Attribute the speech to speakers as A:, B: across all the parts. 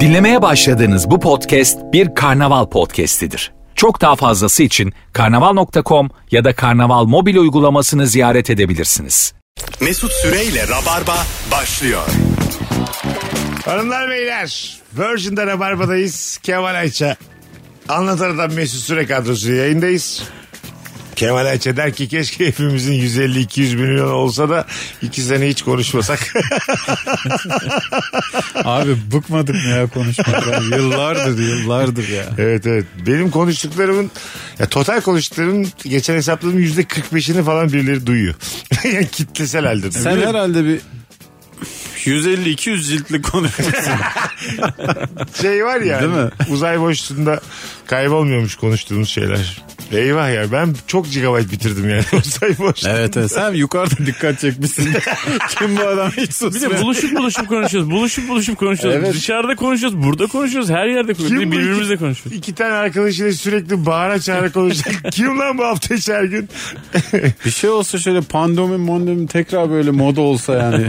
A: Dinlemeye başladığınız bu podcast bir karnaval podcastidir. Çok daha fazlası için karnaval.com ya da karnaval mobil uygulamasını ziyaret edebilirsiniz.
B: Mesut Süreyle Rabarba başlıyor.
C: Hanımlar beyler Virgin'de Rabarba'dayız. Kemal Ayça anlatan adam Mesut Süre kadrosuyla yayındayız. Kemal Ayça der ki keşke hepimizin 150-200 milyon olsa da iki sene hiç konuşmasak.
D: Abi bıkmadık mı ya konuşmaktan? yıllardır yıllardır ya.
C: evet evet. Benim konuştuklarımın ya total konuştuklarımın geçen hesapladığım %45'ini falan birileri duyuyor. yani kitlesel halde.
D: Sen herhalde bir 150-200 ciltlik konuşmuşsun.
C: şey var ya.
D: Değil mi?
C: Uzay boşluğunda kaybolmuyormuş konuştuğumuz şeyler. Eyvah ya ben çok gigabyte bitirdim yani uzay boşluğunda.
D: evet evet sen yukarıda dikkat çekmişsin. Kim bu adam hiç
E: Bir de
D: susmuyor.
E: buluşup buluşup konuşuyoruz. Buluşup buluşup konuşuyoruz.
D: Evet.
E: Dışarıda konuşuyoruz. Burada konuşuyoruz. Her yerde konuşuyoruz.
C: Kim
E: Bir
C: bu
E: de Birbirimizle
C: iki-
E: konuşuyoruz.
C: İki tane arkadaşıyla sürekli bağıra çağıra konuşacak. Kim lan bu hafta içi her gün?
D: bir şey olsa şöyle pandomin mondomin tekrar böyle moda olsa yani.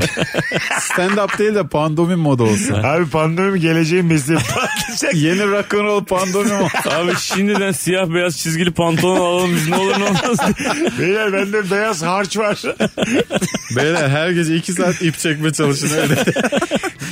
D: Stand up değil de pandomin moda olsa.
C: Abi pandemi geleceğin mesleği patlayacak.
D: Yeni rock and roll pandomin olsa.
E: Abi şimdiden siyah beyaz çizgili pantolon alalım biz ne olur ne olmaz.
C: Beyler bende beyaz harç var.
D: Beyler her gece 2 saat ip çekme çalışın öyle.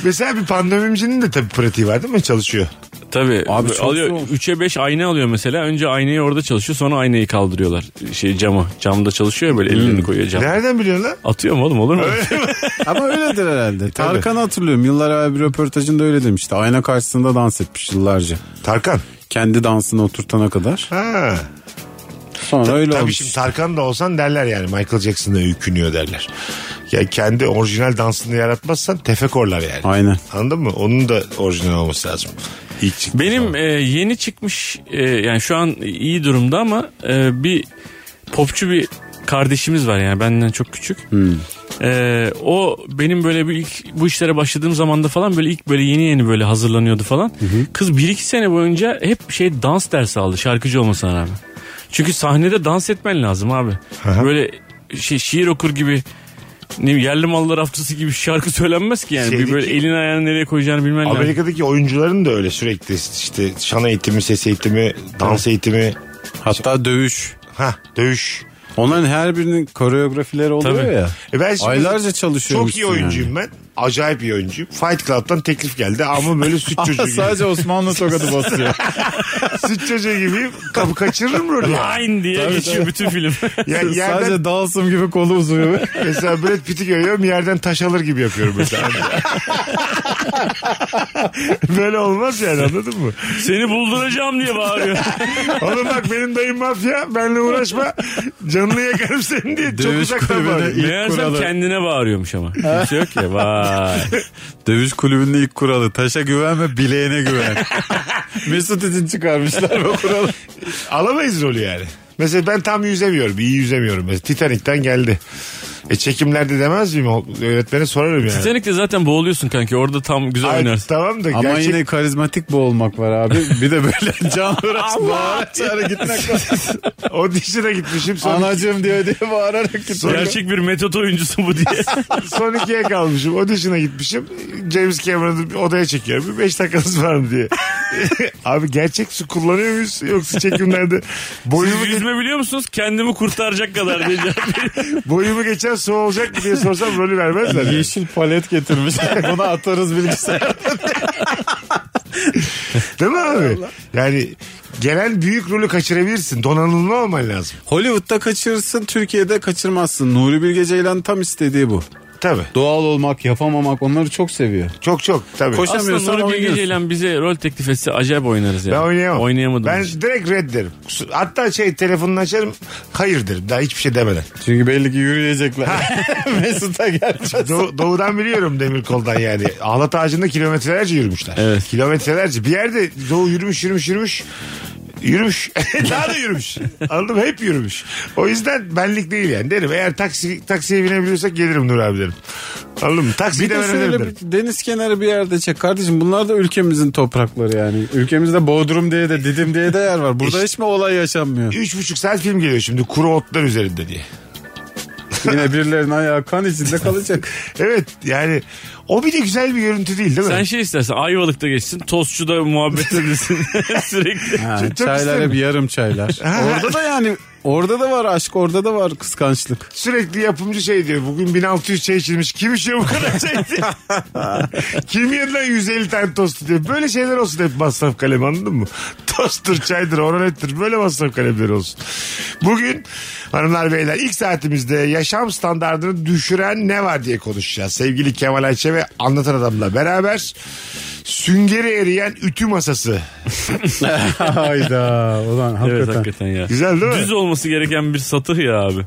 C: Mesela bir pandemimcinin de tabii pratiği var değil mi? Çalışıyor.
E: Tabii
D: Abi çok
E: alıyor
D: zor.
E: 3'e 5 ayna alıyor mesela. Önce aynayı orada çalışıyor sonra aynayı kaldırıyorlar. Şey camı. Camda çalışıyor ya böyle
D: Hmm.
E: ellerini koyuyor cam.
C: Nereden biliyorsun lan?
E: Atıyor mu oğlum olur mu?
D: Ama öyledir herhalde. Tarkan hatırlıyorum. Yıllar evvel bir röportajında öyle demişti. Ayna karşısında dans etmiş yıllarca.
C: Tarkan.
D: Kendi dansını oturtana kadar.
C: Ha.
D: Sonra öyle
C: Tabii
D: olmuş.
C: şimdi Tarkan da olsan derler yani Michael Jackson'la öykünüyor derler. Ya kendi orijinal dansını yaratmazsan tefekorlar yani.
D: Aynen.
C: Anladın mı? Onun da orijinal olması lazım. İlk çıktığı zaman.
E: Benim e, yeni çıkmış e, yani şu an iyi durumda ama e, bir popçu bir kardeşimiz var yani benden çok küçük. E, o benim böyle bir ilk bu işlere başladığım zamanda falan böyle ilk böyle yeni yeni böyle hazırlanıyordu falan. Kız bir iki sene boyunca hep şey dans dersi aldı şarkıcı olmasına rağmen. Çünkü sahnede dans etmen lazım abi. Böyle şey şiir okur gibi ne bileyim, yerli mallar haftası gibi şarkı söylenmez ki yani.
C: Şeydeki-
E: bir böyle elini ayağını nereye koyacağını bilmen lazım.
C: Amerika'daki oyuncuların da öyle sürekli işte şan eğitimi, ses eğitimi, dans eğitimi,
D: Hatta dövüş.
C: ha dövüş.
D: Onların her birinin koreografileri oluyor
E: Tabii.
D: ya.
C: E ben şimdi
D: Aylarca çalışıyormuşsun
C: Çok iyi oyuncuyum ben. Acayip iyi oyuncuyum. Fight Club'dan teklif geldi ama böyle süt çocuğu
D: Ama
C: gibi.
D: sadece Osmanlı tokadı basıyor.
C: süt çocuğu gibiyim. Kapı kaçırırım rolü. ya,
E: Line diye geçiyor bütün film.
C: ya yerden,
D: sadece Dalsım gibi kolu uzuyor.
C: Mesela Brad Pitt'i görüyorum yerden taş alır gibi yapıyorum mesela. böyle olmaz yani anladın mı?
E: Seni bulduracağım diye bağırıyor.
C: Oğlum bak benim dayım mafya benle uğraşma canını yakarım seni diye çok
D: Dövüş
C: uzaktan
D: kulübüne
C: bağırıyor.
D: İlk
E: Meğersem
D: kuralı.
E: kendine bağırıyormuş ama. Kimse yok ya vay.
D: Dövüş kulübünün ilk kuralı. Taşa güvenme bileğine güven. Mesut için çıkarmışlar bu kuralı.
C: alamayız rolü yani. Mesela ben tam yüzemiyorum. iyi yüzemiyorum. Mesela Titanic'ten geldi. E çekimlerde demez miyim? O- Öğretmene sorarım yani.
E: Titanic'te zaten boğuluyorsun kanki orada tam güzel
C: Ay,
E: oynarsın.
C: tamam da
D: Ama
C: gerçek...
D: yine karizmatik boğulmak var abi. Bir de böyle can hıraş bağırarak çağıra gitmek var.
C: O dişine gitmişim. Son,
D: Anacığım diyor diye bağırarak gitmek.
E: Gerçek bir metot oyuncusu bu diye.
C: son ikiye kalmışım. O dişine gitmişim. James Cameron'ı bir odaya çekiyorum. Bir beş dakikanız var mı diye. Abi gerçek su kullanıyor muyuz? Yoksa çekimlerde boyumu,
E: Siz yüzme biliyor musunuz? Kendimi kurtaracak kadar diyeceğim.
C: boyumu geçen su olacak mı diye sorsam rolü vermezler. yani.
D: Yeşil palet getirmiş. Bunu atarız bilgisayara.
C: Değil mi abi? Yani gelen büyük rolü kaçırabilirsin. Donanımlı olman lazım.
D: Hollywood'da kaçırırsın, Türkiye'de kaçırmazsın. Nuri Bilge Ceylan tam istediği bu.
C: Tabii.
D: Doğal olmak, yapamamak onları çok seviyor.
C: Çok çok tabii.
D: Koş-
E: Aslında
D: Koşamıyorsan
E: Nuri Bilge
D: oynuyorsun.
E: Ceylan bize rol teklif etse acayip oynarız yani.
C: Ben oynayamam.
E: Oynayamadım.
C: Ben
E: işte.
C: direkt red derim. Kusur- Hatta şey telefonunu açarım. Hayır derim. Daha hiçbir şey demeden.
D: Çünkü belli ki yürüyecekler. Mesut'a gelmez.
C: Do- doğudan biliyorum demir koldan yani. Ahlat ağacında kilometrelerce yürümüşler.
E: Evet.
C: Kilometrelerce. Bir yerde doğu yürümüş yürümüş yürümüş. Yürümüş. Daha da yürümüş. Anladın mı? Hep yürümüş. O yüzden benlik değil yani derim. Eğer taksi, taksiye binebiliyorsak gelirim Nur abi derim. Anladın mı? Taksiye
D: Bir
C: de
D: de
C: ben
D: şöyle
C: önerim
D: bir
C: derim.
D: deniz kenarı bir yerde çek kardeşim. Bunlar da ülkemizin toprakları yani. Ülkemizde Bodrum diye de Didim diye de yer var. Burada hiç mi olay yaşanmıyor?
C: Üç buçuk saat film geliyor şimdi kuru otlar üzerinde diye.
D: Yine birilerinin ayağı kan içinde kalacak.
C: Evet yani o bir de güzel bir görüntü değil değil mi?
E: Sen şey istersen Ayvalık'ta geçsin. Tostçu'da muhabbet edilsin sürekli.
D: Ha,
C: Çok- çok
D: çaylar
C: isterim.
D: hep yarım çaylar. orada da yani orada da var aşk orada da var kıskançlık.
C: Sürekli yapımcı şey diyor. Bugün 1600 çay içilmiş. Kim içiyor bu kadar çay diye. Kim yedi lan 150 tane tost diyor. Böyle şeyler olsun hep masraf kalem anladın mı? Tosttur, çaydır, oralettir. Böyle masraf kalemleri olsun. Bugün hanımlar beyler ilk saatimizde yaşam standartını düşüren ne var diye konuşacağız. Sevgili Kemal Ayçe ve Anlatan Adam'la beraber süngeri eriyen ütü masası.
D: Hayda ulan hakikaten.
E: evet hakikaten ya.
C: Güzel değil mi?
E: Düz olması gereken bir satır ya abi.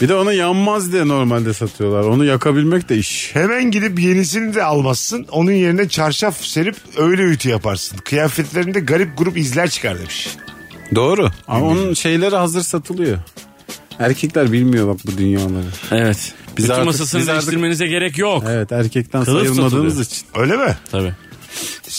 D: Bir de onu yanmaz diye normalde satıyorlar. Onu yakabilmek de iş.
C: Hemen gidip yenisini de almazsın. Onun yerine çarşaf serip öyle ütü yaparsın. Kıyafetlerinde garip grup izler çıkar demiş.
D: Doğru. Ama onun şeyleri hazır satılıyor. Erkekler bilmiyor bak bu dünyaları.
E: Evet.
D: Biz
E: Bütün
D: artık-
E: masasını
D: biz artık-
E: değiştirmenize gerek yok.
D: Evet erkekten
E: Kılıf
D: sayılmadığınız
E: satılıyor.
D: için.
C: Öyle mi?
E: Tabii.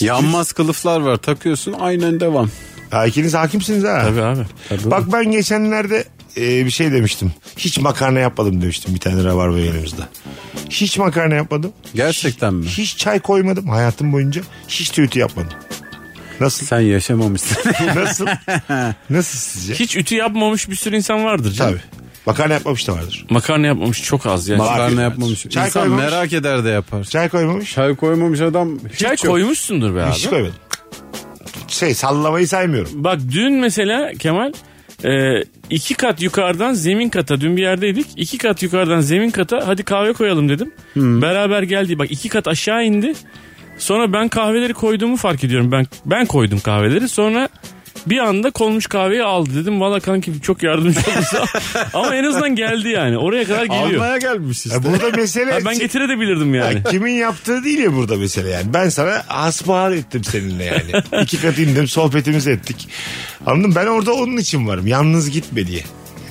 D: Yanmaz kılıflar var takıyorsun aynen devam.
C: Ha, ikiniz hakimsiniz ha.
E: Tabii abi.
C: Bak ben geçenlerde e, bir şey demiştim. Hiç makarna yapmadım demiştim bir tane rabarba yayınımızda. Hiç makarna yapmadım.
D: Gerçekten mi?
C: Hiç çay koymadım hayatım boyunca. Hiç de ütü yapmadım. Nasıl?
D: Sen yaşamamışsın.
C: Nasıl? Nasıl sizce?
E: Hiç ütü yapmamış bir sürü insan vardır canım.
C: Tabii. Makarna yapmamış da vardır.
E: Makarna yapmamış çok az yani.
D: Makarna yapmamış.
C: Çay
D: İnsan
C: koymamış.
D: merak eder de yapar.
C: Çay koymamış.
D: Çay koymamış adam hiç
E: Çay
D: yok.
E: koymuşsundur be abi.
C: Hiç koymadım. Şey sallamayı saymıyorum.
E: Bak dün mesela Kemal e, iki kat yukarıdan zemin kata dün bir yerdeydik. iki kat yukarıdan zemin kata hadi kahve koyalım dedim. Beraber geldi. Bak iki kat aşağı indi. Sonra ben kahveleri koyduğumu fark ediyorum. Ben ben koydum kahveleri. Sonra bir anda konmuş kahveyi aldı dedim. Valla kanki çok yardımcı oldu. Sağ ol. Ama en azından geldi yani. Oraya kadar geliyor.
D: Almaya gelmiş işte.
C: Ya burada mesele
E: Ha, ben getirebilirdim yani.
C: Ya kimin yaptığı değil ya burada mesele yani. Ben sana asbahar ettim seninle yani. İki kat indim sohbetimizi ettik. Anladın mı? Ben orada onun için varım. Yalnız gitme diye.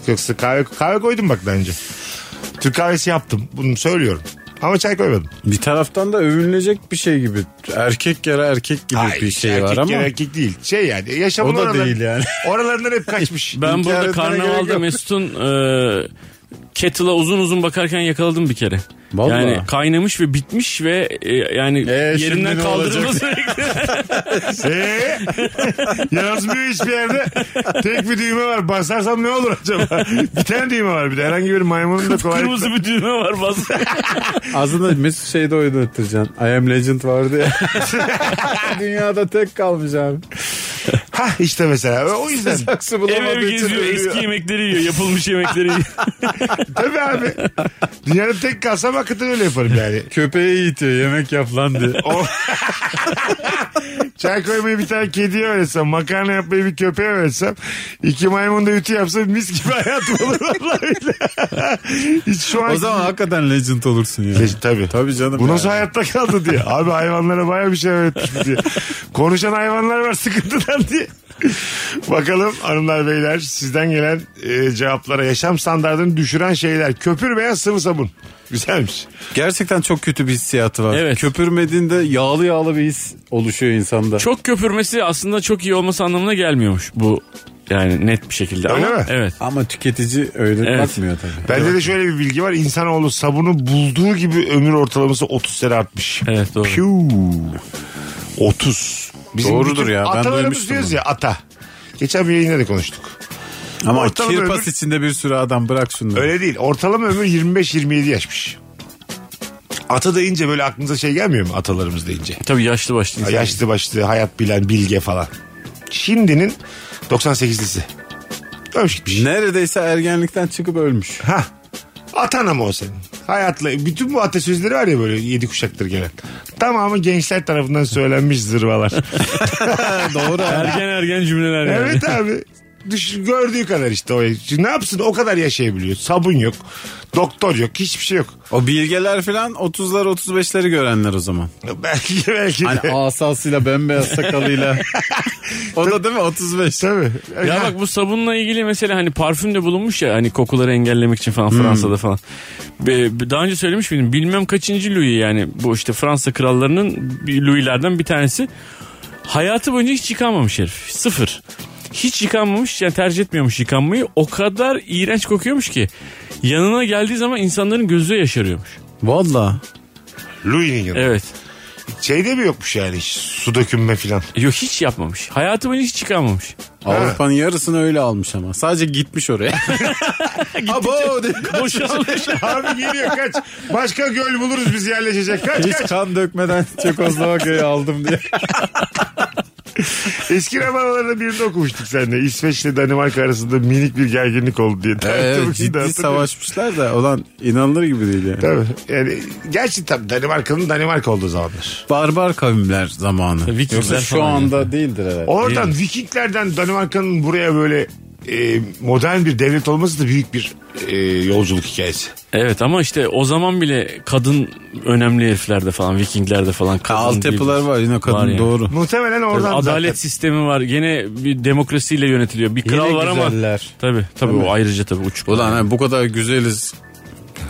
C: Yoksa kahve, kahve koydum bak bence. Türk kahvesi yaptım. Bunu söylüyorum. Ama çay koymadım.
D: Bir taraftan da övünülecek bir şey gibi. Erkek yere erkek gibi
C: Hayır,
D: bir şey
C: erkek
D: var ama.
C: gene Erkek değil. Şey yani yaşamın
D: O da
C: oralar-
D: değil yani.
C: Oralarından hep kaçmış.
E: Ben burada
D: İnkar etmene gerek
E: karnavalda
D: yok.
E: Mesut'un e, kettle'a uzun uzun bakarken yakaladım bir kere.
D: Vallahi.
E: Yani kaynamış ve bitmiş ve e, yani
D: şimdi
E: yerinden
D: ne
E: kaldırıldı sürekli.
C: Ee, yazmıyor hiçbir yerde. Tek bir düğme var. Basarsam ne olur acaba? Bir tane düğme var bir de. Herhangi bir maymunun da kolaylıkla.
E: Kırmızı bir düğme var bas.
D: Aslında Mesut şeyde oynatacaksın. I am legend vardı ya. Dünyada tek kalmış abi.
C: Ha işte mesela. O yüzden.
D: Saksı
E: ev
D: bulamadığı
E: ev
D: için
E: geziyor
D: ölüyor.
E: eski yemekleri yiyor yapılmış yemekleri yiyor.
C: Tabii abi. Dünyada tek kalsam hakikaten öyle yaparım yani.
D: Köpeği itiyor yemek yap lan diye.
C: O... Çay koymayı bir tane kediye öğretsem, makarna yapmayı bir köpeğe öğretsem, iki maymun da ütü yapsa mis gibi hayat olur vallahi. billahi. Hiç şu an...
D: O zaman hakikaten legend olursun ya.
C: Leş- E, Tabii.
D: Tabii canım.
C: Bu
D: ya.
C: nasıl hayatta kaldı diye. Abi hayvanlara baya bir şey öğrettik diye. Konuşan hayvanlar var sıkıntıdan diye. Bakalım hanımlar beyler sizden gelen e, cevaplara yaşam standartını düşüren şeyler. Köpür veya sıvı sabun. Güzelmiş.
D: Gerçekten çok kötü bir hissiyatı var.
E: Evet.
D: Köpürmediğinde yağlı yağlı bir his oluşuyor insanda.
E: çok köpürmesi aslında çok iyi olması anlamına gelmiyormuş bu yani net bir şekilde.
C: Öyle
E: ama,
C: mi?
E: Evet.
D: Ama tüketici öyle
E: Evet.
D: bakmıyor tabii.
C: Bende de şöyle bir bilgi var. İnsanoğlu sabunu bulduğu gibi ömür ortalaması 30 sene artmış.
E: Evet doğru.
C: Piu. 30. Bizim
D: Doğrudur
C: bütün
D: ya, ben
C: atalarımız
D: duymuştum
C: diyoruz
D: bunu.
C: ya ata. Geçen bir yayında da konuştuk.
D: Ama
C: Ortalama
D: kirpas
C: ömür-
D: içinde bir sürü adam bırak şunları.
C: Öyle değil. Ortalama ömür 25-27 yaşmış. Ata deyince böyle aklınıza şey gelmiyor mu atalarımız deyince?
E: Tabii yaşlı başlı insan.
C: Yaşlı başlı, hayat bilen, bilge falan. Şimdinin 98'lisi. Ölmüş gitmiş.
D: Neredeyse ergenlikten çıkıp ölmüş.
C: Ha. Atan ama o senin. Hayatla. Bütün bu atasözleri var ya böyle yedi kuşaktır gelen. Tamamı gençler tarafından söylenmiş zırvalar.
D: Doğru.
E: Ergen ergen cümleler yani.
C: evet abi. Düşün, gördüğü kadar işte o. Şimdi ne yapsın o kadar yaşayabiliyor. Sabun yok. Doktor yok. Hiçbir şey yok.
D: O bilgeler falan 30'lar 35'leri görenler o zaman.
C: Belki belki de.
D: Hani asasıyla bembeyaz sakalıyla. o da değil mi 35?
C: Tabii.
E: Ya bak bu sabunla ilgili mesela hani parfüm de bulunmuş ya hani kokuları engellemek için falan Fransa'da falan. Be- be- Daha önce söylemiş miydim? Bilmem kaçıncı Louis yani bu işte Fransa krallarının bir Louis'lerden bir tanesi. Hayatı boyunca hiç yıkanmamış herif. Sıfır. Hiç yıkanmamış yani tercih etmiyormuş yıkanmayı. O kadar iğrenç kokuyormuş ki. Yanına geldiği zaman insanların gözü yaşarıyormuş.
D: Valla.
C: Louis'nin yanında.
E: Evet.
C: Şeyde mi yokmuş yani hiç su dökünme falan.
E: Yok hiç yapmamış. Hayatımın hiç çıkarmamış.
D: Avrupa'nın yarısını öyle almış ama. Sadece gitmiş oraya. Abo diye.
E: Boşalmış.
C: Abi geliyor kaç. Başka göl buluruz biz yerleşecek. Kaç
D: Hiç
C: kaç.
D: kan dökmeden Çekoslovakya'yı aldım diye.
C: Eski romanlarda birini okumuştuk seninle. İsveç ile Danimarka arasında minik bir gerginlik oldu diye.
D: evet,
C: Hatırlıyor
D: ciddi
C: musun?
D: savaşmışlar da olan inanılır gibi değil yani.
C: Tabii. Yani, gerçi tabii Danimarka'nın Danimarka olduğu zamandır.
D: Barbar kavimler zamanı.
E: Vikingler
D: Yoksa şu
E: falan
D: anda değildir herhalde.
C: Oradan Vikinglerden Danimarka'nın buraya böyle e, modern bir devlet olması da büyük bir e, yolculuk hikayesi.
E: Evet ama işte o zaman bile kadın önemli heriflerde falan Vikinglerde falan.
D: Ha,
E: kadın
D: Altyapılar
E: bir-
D: var yine kadın
E: Var yani.
D: doğru.
C: Muhtemelen
E: Tabii
C: oradan
E: adalet
C: zaten.
E: sistemi var. Gene bir demokrasiyle yönetiliyor. Bir kral
D: Yine
E: var ama.
D: güzeller.
E: Tabii tabii o ayrıca tabii uçuk.
D: Ulan ha, bu kadar güzeliz.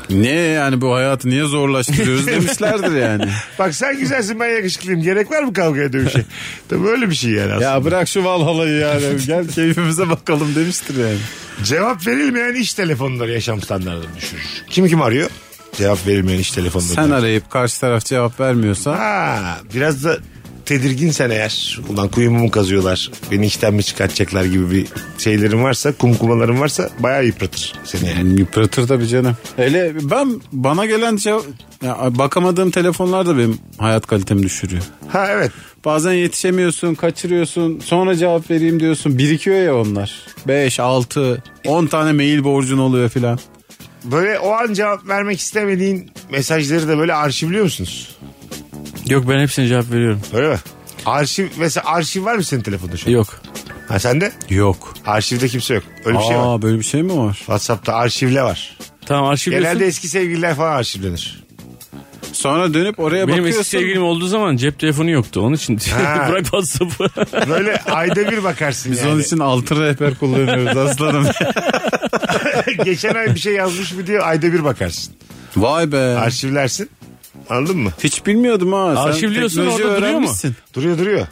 D: Ne yani bu hayatı niye zorlaştırıyoruz demişlerdir yani.
C: Bak sen güzelsin ben yakışıklıyım. Gerek var mı kavgaya dövüşe? Tabii öyle bir şey yani aslında.
D: ya bırak şu Valhalla'yı yani gel keyfimize bakalım demiştir yani.
C: Cevap verilmeyen iş telefonları yaşam standartını düşürür. Kim kim arıyor? Cevap verilmeyen iş telefonları.
D: Sen arayıp karşı taraf cevap vermiyorsa
C: Ha, biraz da tedirginsen eğer ulan kuyumu mu kazıyorlar beni işten mi çıkartacaklar gibi bir şeylerin varsa kumkumaların varsa bayağı yıpratır seni yani.
D: yıpratır tabii canım. Hele ben bana gelen cevap ya bakamadığım telefonlar da benim hayat kalitemi düşürüyor.
C: Ha evet
D: Bazen yetişemiyorsun, kaçırıyorsun. Sonra cevap vereyim diyorsun. Birikiyor ya onlar. 5, 6, 10 tane mail borcun oluyor filan.
C: böyle o an cevap vermek istemediğin mesajları da böyle arşivliyor musunuz?
E: Yok ben hepsine cevap veriyorum.
C: Öyle mi? Arşiv mesela arşiv var mı senin telefonda şu an?
E: Yok.
C: Ha sende?
D: Yok.
C: Arşivde kimse yok. Öyle bir şey var.
D: Aa böyle bir şey mi var?
C: WhatsApp'ta arşivle var.
E: Tamam arşivliyorsun.
C: Genelde eski sevgililer falan arşivlenir.
D: Sonra dönüp oraya
E: Benim
D: bakıyorsun.
E: eski sevgilim olduğu zaman cep telefonu yoktu. Onun için
C: Ha.
E: bırak WhatsApp'ı.
C: Böyle ayda bir bakarsın
D: Biz
C: yani.
D: onun için altı rehber kullanıyoruz aslanım.
C: Geçen ay bir şey yazmış mı diye ayda bir bakarsın.
D: Vay be.
C: Arşivlersin. Anladın mı?
D: Hiç bilmiyordum ha. Sen
E: Arşivliyorsun,
D: teknoloji
E: orada duruyor mu?
D: öğrenmişsin.
C: Duruyor duruyor.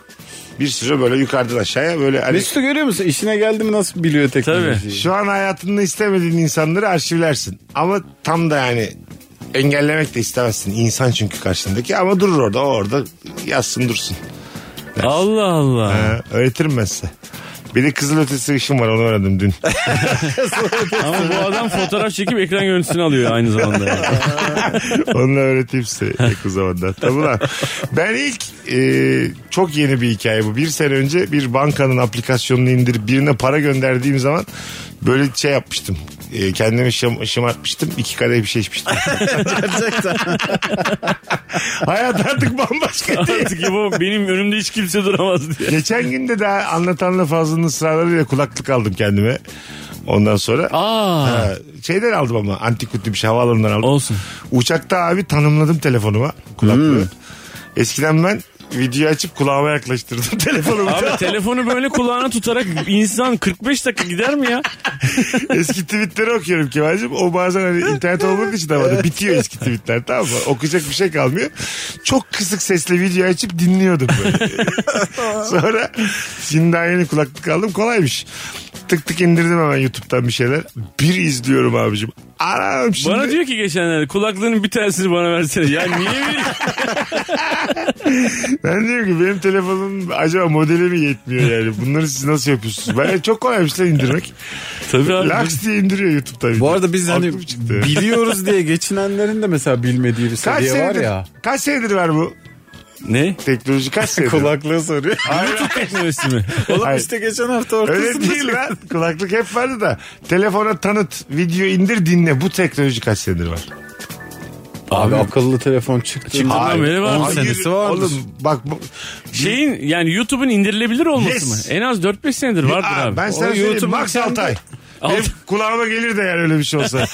C: Bir süre böyle yukarıdan aşağıya böyle hani
D: Mesut'u görüyor musun? İşine geldi mi nasıl biliyor teknolojiyi?
C: şu an hayatında istemediğin insanları arşivlersin. Ama tam da yani engellemek de istemezsin. İnsan çünkü karşındaki ama durur orada o orada yazsın dursun.
E: Allah Allah.
C: Ha, öğretirim ben size. Bir de kızıl ötesi ışın var onu öğrendim dün.
E: Ama bu adam fotoğraf çekip ekran görüntüsünü alıyor aynı zamanda. yani.
C: Onu öğreteyim size yakın zamanda. Tabii lan. Ben ilk e, çok yeni bir hikaye bu. Bir sene önce bir bankanın aplikasyonunu indirip birine para gönderdiğim zaman böyle şey yapmıştım. E, kendimi şım, şımartmıştım. İki kadeh bir şey içmiştim. Hayat artık bambaşka değil.
E: Artık ya bu benim önümde hiç kimse duramaz diye.
C: Geçen gün de daha anlatanla fazlının ısrarlarıyla kulaklık aldım kendime. Ondan sonra
E: Aa.
C: Ha, şeyden aldım ama antik kutu bir şey havaalanından aldım.
E: Olsun.
C: Uçakta abi tanımladım telefonuma kulaklığı.
E: Hmm.
C: Eskiden ben video açıp kulağıma yaklaştırdım telefonumu.
E: Abi telefonu böyle kulağına tutarak insan 45 dakika gider mi ya?
C: eski tweetleri okuyorum Kemal'cim. O bazen hani internet olmadığı için havada bitiyor eski tweetler tamam mı? Okuyacak bir şey kalmıyor. Çok kısık sesle video açıp dinliyordum böyle. Sonra şimdi daha yeni kulaklık aldım kolaymış. Tık tık indirdim hemen YouTube'dan bir şeyler. Bir izliyorum abicim. Anam şimdi.
E: Bana diyor ki geçenlerde kulaklığının bir tanesini bana versene. Ya niye veriyorsun?
C: Ben diyorum ki benim telefonum acaba modeli mi yetmiyor yani? Bunları siz nasıl yapıyorsunuz? Ben çok kolaymış lan indirmek.
E: Tabii abi.
C: Laks diye indiriyor YouTube'da.
D: Bu arada biz hani
C: Aklım çıktı.
D: biliyoruz diye geçinenlerin de mesela bilmediği bir
C: kaç
D: seviye var
C: senedir,
D: ya.
C: kaç senedir var bu
E: Ne?
C: teknoloji? Kaç senedir?
D: Kulaklığı soruyor.
E: YouTube teknolojisi mi?
D: Oğlum
C: Hayır.
D: işte geçen hafta ortasında.
C: Öyle değil lan. Kulaklık hep vardı da. Telefona tanıt, video indir, dinle. Bu teknoloji kaç senedir var?
D: Abi akıllı telefon çıktı.
E: Çıktı. Tamam, öyle var.
D: on
E: Hayır,
D: senesi vardır.
C: Oğlum bak bu...
E: Şeyin yani YouTube'un indirilebilir olması
C: Yes.
E: mı? En az 4-5 senedir vardır
C: Aa,
E: abi.
C: ben sana
D: O
C: söyleyeyim.
D: YouTube'un
C: Max
D: kendi-
C: Altay. Benim
E: Alt-
C: kulağıma gelir de yani öyle bir şey olsa.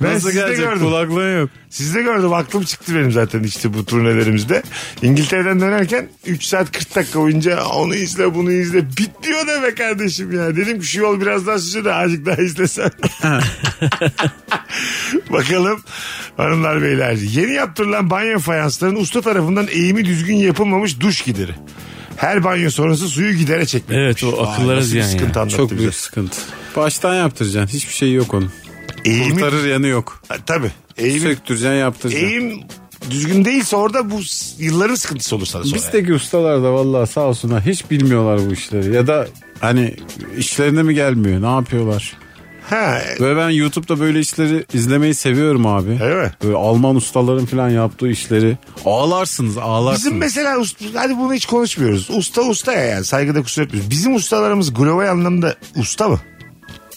C: ben
D: Nasıl
C: sizde
D: gelecek
C: gördüm.
D: kulaklığın yok.
C: Sizde gördüm aklım çıktı benim zaten işte bu turnelerimizde. İngiltere'den dönerken 3 saat 40 dakika boyunca onu izle bunu izle bitmiyor da be kardeşim ya. Dedim ki şu yol biraz daha sürse de azıcık daha izlesen. Bakalım hanımlar beyler yeni yaptırılan banyo fayansların usta tarafından eğimi düzgün yapılmamış duş gideri. Her banyo sonrası suyu gidere çekmek.
E: Evet, o akıllara ziyan
C: Sıkıntı anlattı
D: Çok
C: bize.
D: büyük sıkıntı. Baştan yaptıracaksın. Hiçbir şey yok onun.
C: Eğimi,
D: Kurtarır yanı yok.
C: Ha, tabii. Eğimi,
D: Söktüreceksin yaptıracaksın.
C: eğim düzgün değilse orada bu s- yılların sıkıntısı olur sana sonra. yani.
D: Bizdeki ustalar da vallahi sağ olsunlar hiç bilmiyorlar bu işleri. Ya da hani işlerine mi gelmiyor ne yapıyorlar?
C: Ha, e,
D: Böyle ben YouTube'da böyle işleri izlemeyi seviyorum abi.
C: Öyle mi?
D: Böyle Alman ustaların falan yaptığı işleri. Ağlarsınız ağlarsınız.
C: Bizim mesela usta, hadi bunu hiç konuşmuyoruz. Usta usta ya yani saygıda kusur etmiyoruz. Bizim ustalarımız global anlamda usta mı?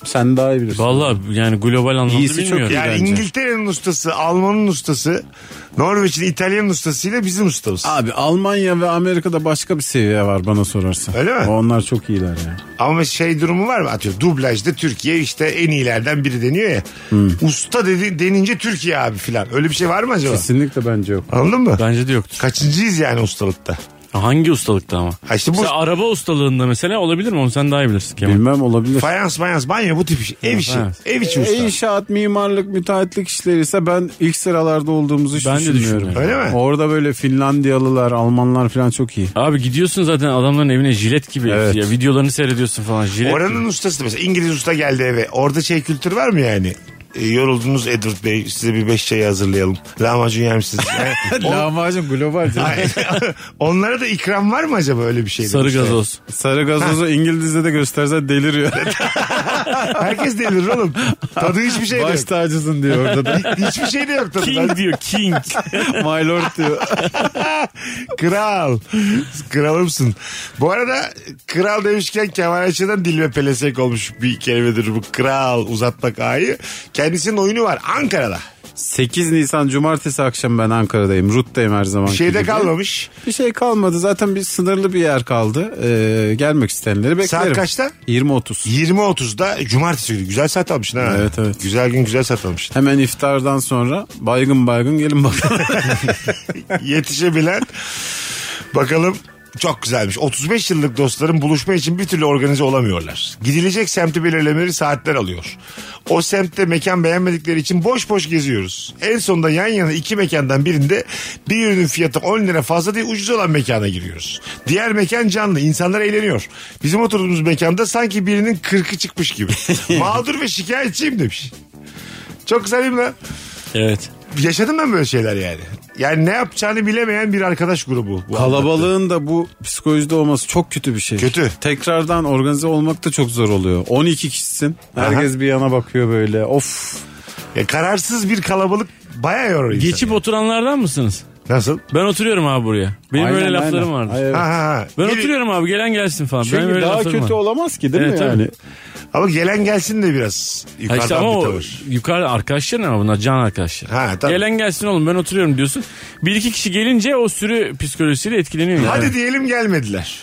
D: Sen daha iyi bilirsin.
E: Vallahi yani global anlamda
D: İyisi çok iyi.
E: bilmiyorum.
C: Yani
D: Bence.
C: İngiltere'nin ustası, Alman'ın ustası, Norveç'in, İtalya'nın ustasıyla bizim ustamız.
D: Abi Almanya ve Amerika'da başka bir seviye var bana sorarsan.
C: Öyle mi?
D: Onlar çok iyiler ya.
C: Ama şey durumu var mı? Atıyor dublajda Türkiye işte en iyilerden biri deniyor ya.
D: Hmm.
C: Usta dedi, denince Türkiye abi filan. Öyle bir şey var mı acaba?
D: Kesinlikle bence yok.
C: Anladın mı?
E: Bence de yoktur.
C: Kaçıncıyız yani ustalıkta?
E: Hangi ustalıkta ama?
C: Ha işte bu
E: Mesela araba ustalığında mesela olabilir mi? Onu sen daha iyi bilirsin Kemal.
D: Bilmem olabilir.
C: fayans mayans banyo bu tip iş. Ev işi.
E: fayans.
C: Ev içi usta.
D: İnşaat, mimarlık, müteahhitlik işleri ise ben ilk sıralarda olduğumuzu hiç
E: Ben de
D: düşünmüyorum.
E: düşünmüyorum.
C: Öyle mi?
D: Orada böyle Finlandiyalılar, Almanlar falan çok iyi.
E: Abi gidiyorsun zaten adamların evine jilet gibi.
D: Evet.
E: Ya, videolarını seyrediyorsun falan jilet gibi.
C: Oranın ustası da mesela İngiliz usta geldi eve. Orada şey kültür var mı yani? E, yoruldunuz Edward Bey size bir beş şey hazırlayalım. Lahmacun yer misiniz? Yani o-
D: Lahmacun global. canım.
C: Hayır. Onlara da ikram var mı acaba öyle bir şey?
E: Sarı
C: Demişler.
E: gazoz.
D: Sarı gazozu İngilizce'de de gösterse deliriyor.
C: Herkes delirir oğlum. Tadı hiçbir şey de yok.
D: Baş tacısın diyor orada da.
C: Hiçbir şey de yok tadı. Ben-
E: King diyor King.
D: My lord diyor.
C: Kral. Kralımsın. Bu arada kral demişken Kemal Ayça'dan dil ve pelesek olmuş bir kelimedir bu. Kral uzatmak ayı. Kendisinin oyunu var Ankara'da.
D: 8 Nisan Cumartesi akşam ben Ankara'dayım. Rut'tayım her zaman.
C: Bir şey de kalmamış.
D: Bir şey kalmadı. Zaten bir sınırlı bir yer kaldı. Ee, gelmek isteyenleri beklerim.
C: Saat kaçta?
D: 20.30.
C: 20.30'da cumartesi günü. Güzel saat almışsın ha.
D: Evet, evet.
C: Güzel gün güzel saat almışsın.
D: Hemen iftardan sonra baygın baygın gelin bakalım.
C: Yetişebilen. Bakalım çok güzelmiş. 35 yıllık dostların buluşma için bir türlü organize olamıyorlar. Gidilecek semti belirlemeleri saatler alıyor. O semtte mekan beğenmedikleri için boş boş geziyoruz. En sonunda yan yana iki mekandan birinde bir ürünün fiyatı 10 lira fazla değil ucuz olan mekana giriyoruz. Diğer mekan canlı insanlar eğleniyor. Bizim oturduğumuz mekanda sanki birinin kırkı çıkmış gibi. Mağdur ve şikayetçiyim demiş. Çok güzel değil mi lan?
E: evet.
C: Yaşadım ben böyle şeyler yani. Yani ne yapacağını bilemeyen bir arkadaş grubu. bu anlattığım.
D: Kalabalığın da bu psikolojide olması çok kötü bir şey.
C: Kötü.
D: Tekrardan organize olmak da çok zor oluyor. 12 kişisin. Herkes bir yana bakıyor böyle. Of.
C: Ya kararsız bir kalabalık bayağı yoruyor insanı.
E: Geçip oturanlardan mısınız?
C: Nasıl?
E: Ben oturuyorum abi buraya. Benim
D: Aynen,
E: öyle laflarım
D: aynen.
E: vardı.
D: Ay, evet.
C: Ha, ha, ha.
E: Ben
C: Biri-
E: oturuyorum abi gelen gelsin falan. Benim
D: Çünkü
E: öyle
D: daha
E: laflarım
D: kötü
E: var.
D: olamaz ki değil
E: Evet,
D: mi
E: tabii.
D: yani?
C: Ama gelen gelsin de biraz
E: Ha
C: yukarıdan
E: işte ama
C: bir
E: o
C: tavır.
E: yukarıda arkadaşlar ama bunlar can arkadaşlar.
C: Ha, tabii.
E: Gelen gelsin oğlum ben oturuyorum diyorsun. Bir iki kişi gelince o sürü psikolojisiyle etkileniyor. yani.
C: Hadi diyelim gelmediler.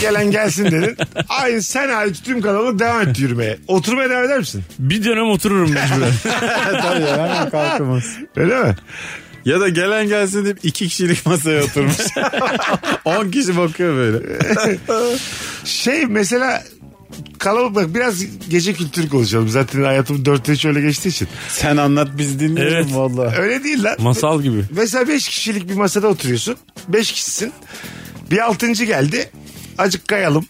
C: Gelen gelsin dedin. Aynı sen hariç tüm kalabalık devam et yürümeye. Oturmaya devam eder misin?
E: Bir dönem otururum mecburen.
D: Tabii hemen kalkamaz.
C: Öyle mi?
D: Ya da gelen gelsin deyip iki kişilik masaya oturmuş. 10 kişi bakıyor böyle.
C: Şey mesela kalabalık bak biraz gece kültürü konuşalım. Zaten hayatım dörtte şöyle geçtiği için.
D: Sen anlat biz dinleyelim
E: Evet.
D: valla.
C: Öyle değil lan.
E: Masal gibi.
C: Mesela 5 kişilik bir masada oturuyorsun. 5 kişisin. Bir altıncı geldi. Acık kayalım.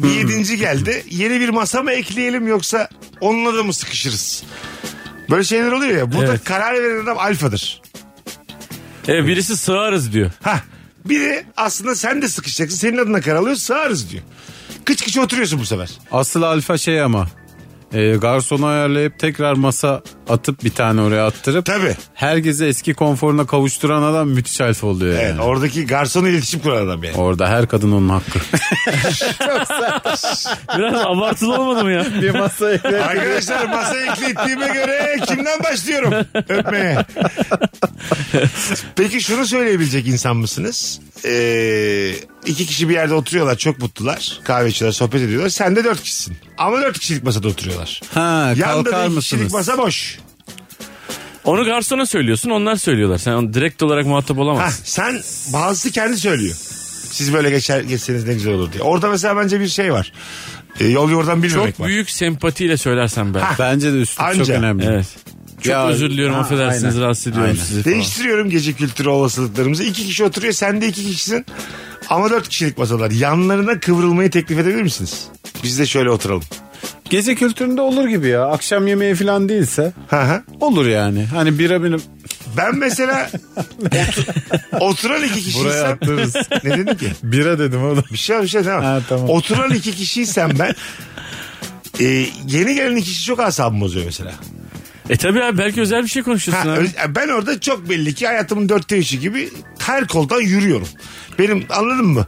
C: Bir yedinci geldi. Yeni bir masa mı ekleyelim yoksa onunla da mı sıkışırız? Böyle şeyler oluyor ya. Burada
E: Evet.
C: karar veren adam alfadır.
E: E, birisi sığarız diyor.
C: Ha. Biri aslında sen de sıkışacaksın. Senin adına karar alıyor. Sığarız diyor. Kıç kıç oturuyorsun bu sefer.
D: Asıl alfa şey ama. E, garsonu ayarlayıp tekrar masa atıp bir tane oraya attırıp
C: Tabii.
D: herkesi eski konforuna kavuşturan adam müthiş alfa oluyor yani.
C: Evet, oradaki garsonla iletişim kuran adam yani.
D: Orada her kadın onun hakkı.
E: Biraz abartılı olmadı mı ya?
D: bir masaya
C: Arkadaşlar masa eklettiğime göre kimden başlıyorum öpmeye? Peki şunu söyleyebilecek insan mısınız? Ee, iki kişi bir yerde oturuyorlar çok mutlular. Kahve içiyorlar sohbet ediyorlar. Sen de dört kişisin. Ama dört kişilik masada oturuyorlar.
D: Ha,
C: Yanında da
D: kalkar
C: iki kişilik
D: mısınız?
C: masa boş.
E: Onu garsona söylüyorsun onlar söylüyorlar. Sen direkt olarak muhatap
C: Hah,
E: olamazsın.
C: sen bazısı kendi söylüyor. Siz böyle geçer geçseniz ne güzel olur diye. Orada mesela bence bir şey var. Ee, yol yordan bilmemek
E: Çok
C: var.
E: büyük sempatiyle söylersen ben.
D: Bence de üstlük çok
C: Anca.
D: önemli.
E: Evet. Çok
D: Ya-
E: özür diliyorum
D: Ha,
E: affedersiniz
D: aynen.
E: rahatsız ediyorum
D: Aynen.
E: sizi falan.
C: Değiştiriyorum gece kültürü olasılıklarımızı. İki kişi oturuyor sen de iki kişisin. Ama dört kişilik masalar. Yanlarına kıvrılmayı teklif edebilir misiniz? Biz de şöyle oturalım.
D: Gece kültüründe olur gibi ya. Akşam yemeği falan değilse
C: Hı hı.
D: olur yani. Hani bira benim
C: Ben mesela otu- oturan iki
D: buraya
C: kişiysem
D: attırırız.
C: ne dedin ki?
D: bira dedim oğlum.
C: Bir şey bir şey tamam.
D: Ha, tamam.
C: Oturan iki kişiysem ben e, yeni gelen iki kişi çok asabımı bozuyor mesela.
E: E tabi abi belki özel bir şey konuşuyorsun
C: Ha,
E: abi.
C: öz- ben orada çok belli ki hayatımın dörtte üçü gibi her koldan yürüyorum. Benim anladın mı?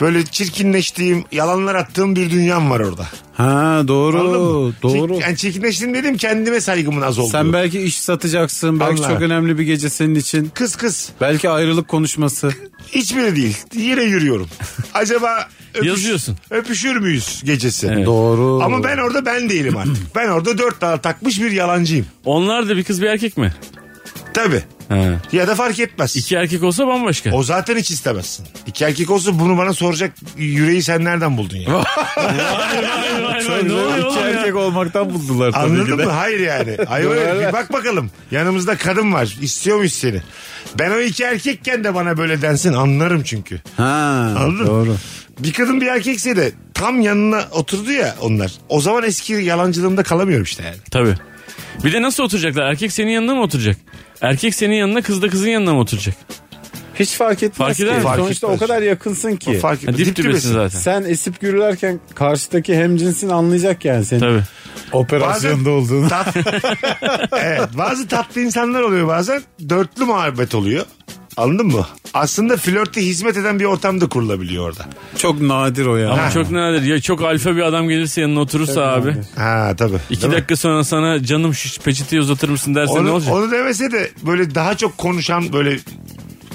C: Böyle çirkinleştiğim, yalanlar attığım bir dünyam var orada.
D: Ha doğru.
C: Anladın mı?
D: Doğru.
C: Çir- yani çirkinleştiğim dedim kendime saygımın az olduğu.
D: Sen belki iş satacaksın. Belki
C: Vallahi.
D: çok önemli bir gece senin için.
C: Kız kız.
D: Belki ayrılık konuşması.
C: Hiçbiri değil. Yine yürüyorum. Acaba öpüş-
E: Yazıyorsun.
C: öpüşür müyüz gecesi?
D: Doğru.
C: Ama ben orada ben değilim artık. ben orada dört tane takmış bir yalancıyım.
E: Onlar da bir kız bir erkek mi?
C: Tabii.
E: Ha.
C: Ya da fark etmez.
E: İki erkek olsa bambaşka.
C: O zaten hiç istemezsin. İki erkek olsa bunu bana soracak yüreği sen nereden buldun ya?
E: Vay vay vay, ne oluyor oğlum ya?
D: olmaktan buldular
C: Anladın mı? Hayır yani. Hayır öyle. Bir bak bakalım. Yanımızda kadın var. İstiyor muyuz seni? Ben o iki erkekken de bana böyle densin anlarım çünkü.
D: Ha
C: Anladın
D: doğru.
C: mı? Bir kadın bir erkekse de tam yanına oturdu ya onlar. O zaman eski yalancılığımda kalamıyorum işte yani.
E: Tabii. Bir de nasıl oturacaklar? Erkek senin yanına mı oturacak? Erkek senin yanına kız da kızın yanına mı oturacak?
D: Hiç fark etmez
E: Fark
D: ki.
E: eder mi?
C: Fark
D: Sonuçta
C: etmez.
D: o kadar yakınsın ki.
C: Fark
E: Ha,
C: etmez.
E: dip dibesin zaten.
D: Sen esip gürülerken karşıdaki hemcinsin anlayacak yani senin
E: Tabii.
D: operasyonda olduğunu.
C: Tat... evet, bazı tatlı insanlar oluyor bazen. Dörtlü muhabbet oluyor. Anladın mı? Aslında flörte hizmet eden bir ortam da kurulabiliyor orada.
D: Çok nadir o ya.
E: Ama çok nadir. Ya çok alfa bir adam gelirse yanına oturursa abi.
D: nadir.
C: Ha tabii.
E: İki
C: Değil mi?
E: dakika sonra sana canım şu peçeteyi uzatır mısın derse ne
C: Onu,
E: olacak?
C: onu demese de böyle daha çok konuşan böyle